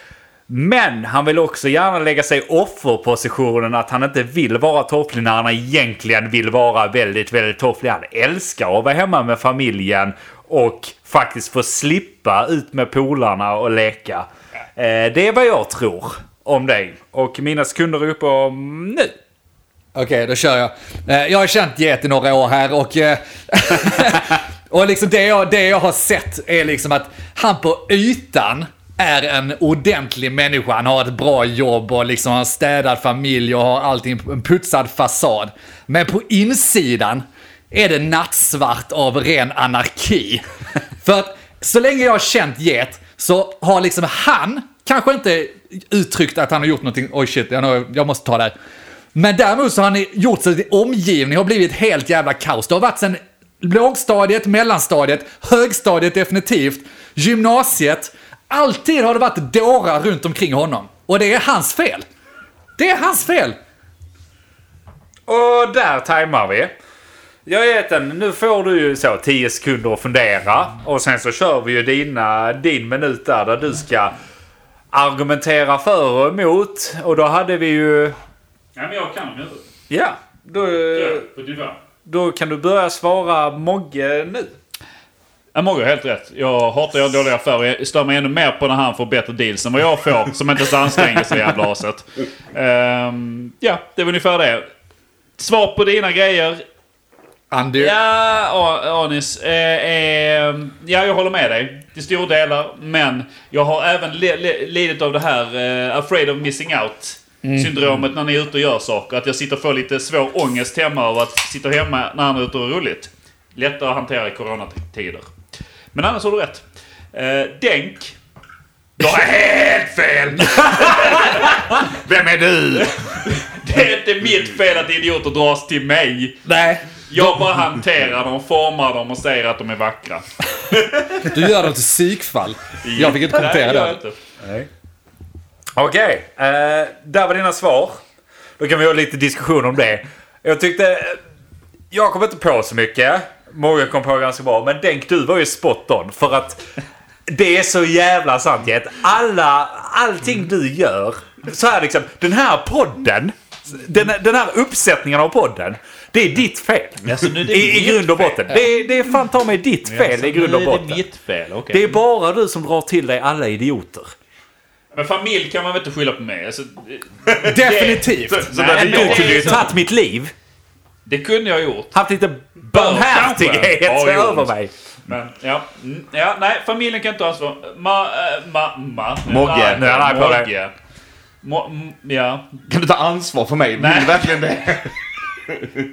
B: Men han vill också gärna lägga sig i offerpositionen att han inte vill vara tofflig när han egentligen vill vara väldigt, väldigt tofflig. Han älskar att vara hemma med familjen och faktiskt få slippa ut med polarna och leka. Eh, det är vad jag tror om dig. Och mina sekunder är uppe om nu.
C: Okej, då kör jag. Eh, Jag har känt get i några år här och... eh, och liksom det jag, det jag har sett är liksom att han på ytan är en ordentlig människa. Han har ett bra jobb och liksom har en städad familj och har allting, en putsad fasad. Men på insidan är det nattsvart av ren anarki. För att så länge jag har känt get så har liksom han kanske inte uttryckt att han har gjort någonting, oj shit, jag, har- jag måste ta det här. Men däremot så har ni gjort så att omgivningen har blivit helt jävla kaos. Det har varit sen lågstadiet, mellanstadiet, högstadiet definitivt, gymnasiet. Alltid har det varit dårar runt omkring honom. Och det är hans fel. Det är hans fel!
B: Och där tajmar vi. Jag vet en, nu får du ju så 10 sekunder att fundera. Och sen så kör vi ju dina, din minut där, där du ska argumentera för och emot. Och då hade vi ju...
D: Nej, men jag kan om jag vill.
B: Ja, då,
D: Ja, På nivå.
B: då kan du börja svara Mogge nu.
D: Ja, Mogge har helt rätt. Jag hatar jag dåliga affärer. Jag stör mig ännu mer på när han får bättre deals än vad jag får. Som inte ens anstränger sig jävla aset. Ehm, ja, det var ungefär det. Svar på dina grejer.
C: Andy.
D: Ja, A- Anis. Eh, eh, ja, jag håller med dig. Till stor delar. Men jag har även le- le- lidit av det här eh, afraid of missing out. Syndromet när ni är ute och gör saker. Att jag sitter och får lite svår ångest hemma av att sitta hemma när han är ute och har roligt. Lättare att hantera i coronatider. Men annars har du rätt. Eh, Denk. Du har helt fel!
E: Vem är du?
D: Det är inte mitt fel att idioter dras till mig.
C: Nej,
D: Jag bara hanterar dem, formar dem och säger att de är vackra.
C: du gör dem till psykfall. Jag fick inte kommentera
D: Nej, gör jag
C: det.
D: inte.
B: Okej, eh, där var dina svar. Då kan vi ha lite diskussion om det. Jag tyckte... eh, Jag kom inte på så mycket. Många kom på ganska bra. Men Denk, du var ju spot on. För att det är så jävla sant Jet. Alla, allting du gör. Så här liksom, den här podden. Den, den här uppsättningen av podden. Det är ditt fel.
D: nu är det
B: I, I
D: mitt
B: grund och botten. Det är, det är fan ta mig ditt fel i grund och botten.
D: mitt fel, okej.
B: Det är bara du som drar till dig alla idioter.
D: Men familj kan man väl inte skylla på mig? Alltså, det-
C: Definitivt!
E: Så där
B: Men
E: är
B: du
E: jag.
B: kunde ju tagit mitt liv.
D: det kunde jag ha gjort.
B: haft lite
D: Barmhärtighet
B: barmhärtighet
D: Ja, jo.
B: över
D: över
B: mig.
D: Men ja, mm, ja nej, familjen kan inte ha ansvar. Ma, äh, ma, ma. nu är
E: Mogge.
D: jag arg.
B: Nu är jag arg på dig.
D: Mogge. Mo, m, ja.
E: Kan du ta ansvar för mig? Vill
D: Nej.
E: du verkligen det?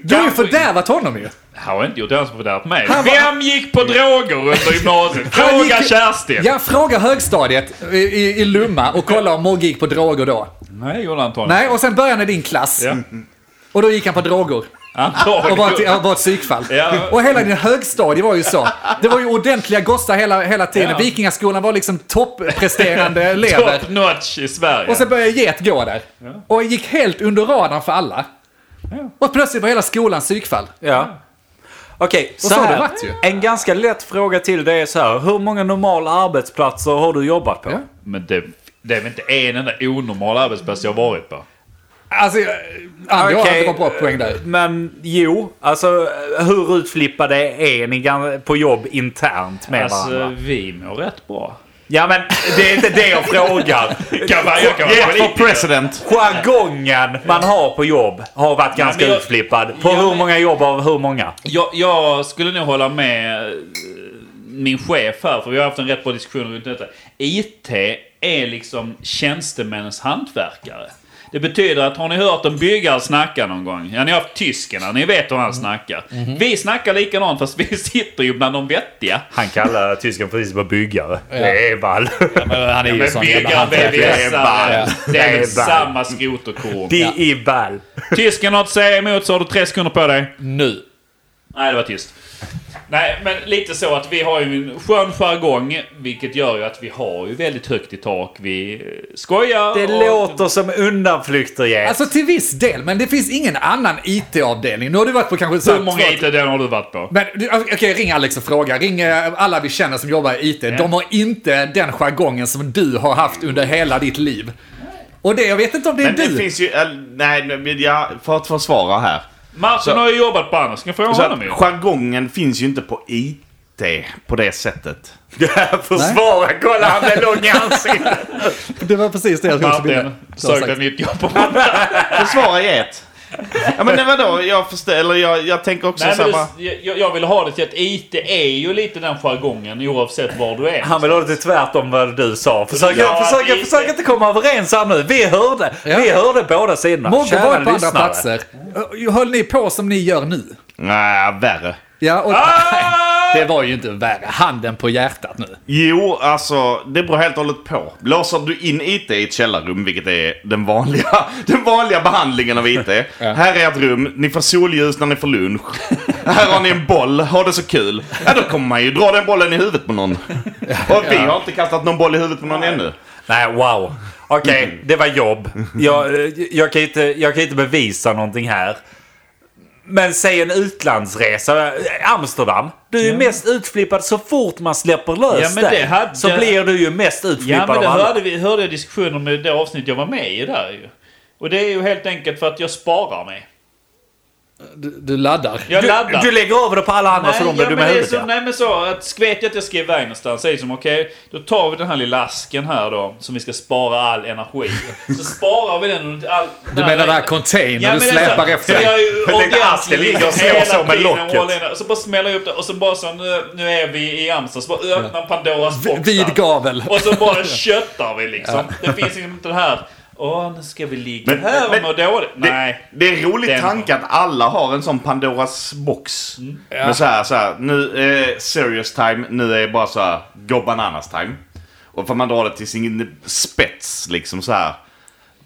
C: Du har ju fördärvat honom ju!
D: Han har inte gjort ansvar för det här på mig.
C: Han var-
D: Vem gick på droger under gymnasiet?
C: Han
D: Fråga
C: gick-
D: Kerstin!
C: Ja, fråga högstadiet i, i, i Lumma och kolla om Mogge gick på droger då.
D: Nej, gjorde han antagligen.
C: Nej, och sen började han i din klass.
D: Ja.
C: Och då gick han på droger. Och var ett,
D: Antagligen.
C: och var ett psykfall.
D: Ja.
C: Och hela din högstadie var ju så. Det var ju ordentliga gossar hela, hela tiden.
D: Ja.
C: Vikingaskolan var liksom toppresterande elever.
D: Top notch i Sverige.
C: Och sen började get gå där. Och gick helt under radarn för alla. Och plötsligt var hela skolan psykfall.
B: Ja. Okej, så,
C: så har det
B: här.
C: varit ju.
B: En ganska lätt fråga till det är så här. Hur många normala arbetsplatser har du jobbat på?
C: Ja.
D: Men det, det är väl inte en enda onormal arbetsplats jag har varit på?
C: Alltså, jag- Andy har
B: Okej,
C: inte någon bra poäng där.
B: Men jo, alltså hur utflippade är ni gan- på jobb internt med
D: Alltså,
B: varandra?
D: vi mår rätt bra.
B: Ja men det är inte det jag frågar.
D: Kan vara- jag kan vara
E: Yeah, for
D: politiker.
E: president!
B: Jargongen man har på jobb har varit ganska
D: men jag-
B: utflippad. På
D: Ja,
B: hur
D: men-
B: många jobb av hur många?
D: Jag, jag skulle nog hålla med eh, min chef här, för vi har haft en rätt bra diskussion runt detta. IT är liksom tjänstemännens hantverkare. Det betyder att har ni hört en byggare snacka någon gång? Ja, ni har haft tysken här, ni vet hur han snackar. Vi snackar likadant fast vi sitter ju bland de vettiga.
B: Han kallar tysken precis för byggare. Det är ball.
C: Han är ju sån jävla
D: Byggare,
C: hantverkare.
D: VVS-are, det är väl
B: Det är ball.
D: samma skrot och korn.
B: Det är ball.
D: Tysken har att säga emot så har du tre sekunder på dig.
C: Nu.
D: Nej, det var tyst. Nej, men lite så att vi har ju en skön jargong, vilket gör ju att vi har ju väldigt högt i tak. Vi eh, skojar
B: Det låter som undanflykter Jens.
C: Alltså till viss del, men det finns ingen annan IT-avdelning. Nu har du varit på kanske... så här
D: Hur många
C: två-
D: it den har du varit på?
C: Men du, alltså, okej, ring Alex och fråga. Ring eh, alla vi känner som jobbar i IT. De har inte den jargongen som du har haft under hela ditt liv. Och det, jag vet inte om det är
E: Men det
C: du.
E: finns ju... eh, Nej, men jag, för att försvara här.
D: Martin
E: Så-
D: har ju jobbat på annars. Ska jag fråga
E: Så
D: honom
E: att
D: ju?
E: jargongen finns ju inte på IT på det sättet.
B: Försvara, kolla han blev lång i ansiktet.
C: Det var precis det jag
D: Martin sökte ett nytt jobb på måndag.
E: Försvara get! Ja men vadå, jag förstår, eller jag, jag tänker också
D: Nej, men
E: samma...
D: det- jag, jag vill ha det till att IT är ju lite den jargongen oavsett var du är.
B: Han vill ha det till tvärtom vad du sa. Försök,
D: Ja,
B: försök,
D: det-
B: försök inte komma överens här nu. Vi hörde,
C: Ja.
B: vi hörde båda sidorna.
C: Mogge
B: Kära
C: var ju på andra
B: lyssnare.
C: platser. Ö, Höll ni på som ni gör nu?
E: Nej, värre.
C: Ja, och...
D: Ah!
C: Det var ju inte värre. Handen på hjärtat nu.
E: Jo, alltså det beror helt och hållet på. Låser du in IT i ett källarrum, vilket är den vanliga, den vanliga behandlingen av IT. Här är ett rum, ni får solljus när ni får lunch. här har ni en boll, ha det så kul. Ja, då kommer man ju dra den bollen i huvudet på någon. Och vi har inte kastat någon boll i huvudet på någon ännu.
B: Nej, wow. Okej, det var jobb. Jag, eh, jag, kan inte, jag kan inte bevisa någonting här. Men säg en utlandsresa. Amsterdam. Du är ju mest utflippad så fort man släpper lös
D: Ja, men
B: dig,
D: det hade-
B: Så blir du ju mest
D: Ja,
B: utflippad
D: men det
B: av alla.
D: hörde, vi, hörde jag diskussioner om i det avsnitt jag var med i där ju. Och det är ju helt enkelt för att jag sparar mig.
C: Du, du laddar.
D: Jag
B: Du,
D: laddar.
B: du lägger över det på alla andra så de blir
D: ja,
B: dumma
D: men
B: i
D: det är
B: huvudet.
D: så,
B: ja.
D: Nej men så, att vet jag att jag ska iväg någonstans, säger som okej, då tar vi den här lilla asken här då, som vi ska spara all energi. Så sparar vi den under all...
C: Du menar den här containern du
D: men det är
C: släpar
D: så-
C: efter
D: Så
C: dig?
D: jag är ju
B: Jag tänkte
D: ordiant-
B: asken ligger och slår
D: hela
B: så med
D: tiden och
B: locket.
D: håller in- Så bara smäller jag upp det och så bara så, nu, nu är vi i Amsterdam, så bara öppnar Pandoras box där.
C: Vid gavel.
D: Och så bara köttar vi liksom. Det finns liksom inte det här, åh nu ska vi ligga
E: Men-
D: här och
E: men-
D: må dåligt.
E: Det,
D: Nej.
E: det är en rolig
D: Den-
E: tanke att alla har en sån Pandoras box. Men så här, så här, nu är serious time, nu är bara så här, go bananas time. Och får man dra det till sin spets liksom så här.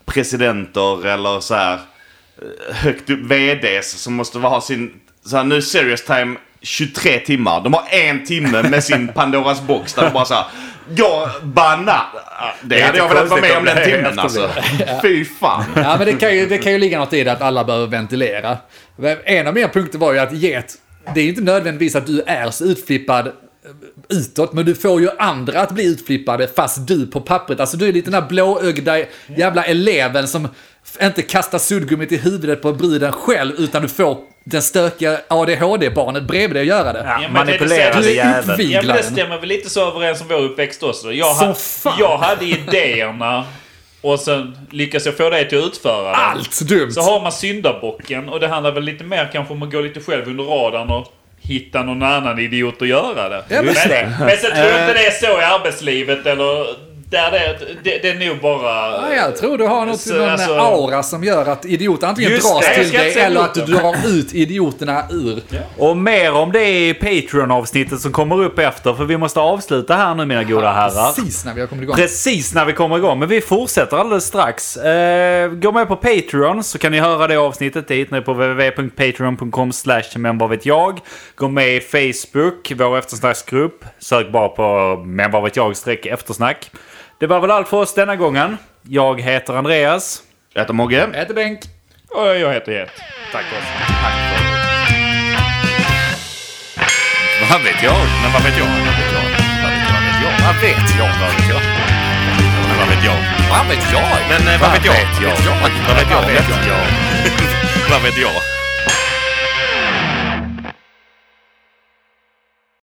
E: Presidenter eller så här eh, högt upp, VDs som måste ha sin, så här, nu är serious time 23 timmar. De har en timme med sin Pandoras box där de bara så här, go bananas. Det hade
B: inte
E: jag velat vara med om
B: konstigt om
E: den
B: det är
E: timmen alltså. Fy fan.
C: Ja, men det kan, ju, det kan ju ligga något i det att alla behöver ventilera. Men En av mina punkter var ju att get, det är ju inte nödvändigtvis att du är så utflippad eh, utåt, men du får ju andra att bli utflippade fast du på pappret. Alltså du är lite den här blåögda jävla eleven som f- inte kastar suddgummit i huvudet på bruden själv, utan du får den stökiga ADHD-barnet bredvid dig att göra det.
B: Ja,
D: men det är
B: manipulerade
D: det-
C: Du är
B: jäveln.
D: Ja, men det
C: uppviglaren.
D: stämmer väl lite så överens om vår uppväxt också. Jag,
C: Som
D: ha,
C: fan.
D: jag hade idéerna och sen lyckas jag få dig till att utföra det.
C: Allt dumt!
D: Så har man syndabocken och det handlar väl lite mer kanske om att gå lite själv under radarn och hitta någon annan idiot att göra det.
C: men- Eh.
D: men, men så tror jag inte det är så i arbetslivet eller där det, är- det, det är nog bara...
C: Ja, jag tror du har något,
D: Så,
C: någon
D: alltså-
C: aura som gör att idiot antingen
B: Just
C: dras
B: det, jag
C: till
D: ska
C: dig
D: inte säga
C: eller
D: emot
C: att du
D: det.
C: drar ut idioterna ur.
B: Och mer om det i Patreon-avsnittet som kommer upp efter, för vi måste avsluta här nu mina goda herrar.
C: Precis när vi har kommit igång.
B: Precis när vi kommer igång, men vi fortsätter alldeles strax. Eh, gå med på Patreon så kan ni höra det avsnittet dit nu på www.patreon.com slash men vad vet jag. Gå med i Facebook, vår eftersnacksgrupp. Sök bara på men vad vet jag streck eftersnack. Det var väl allt för oss denna gången. Jag heter Andreas.
E: Jag heter Mogge.
C: Ät och bänk.
D: Och jag heter Get.
B: Tack för oss. Vad vet jag? Men vad vet jag? Vad vet jag? Vad vet jag? Vad vet jag? Vad vet jag? Men vad vet jag? Vad vet jag? Men eh, vad vet jag? Vad vet jag? Vad vet jag? Vad vet jag?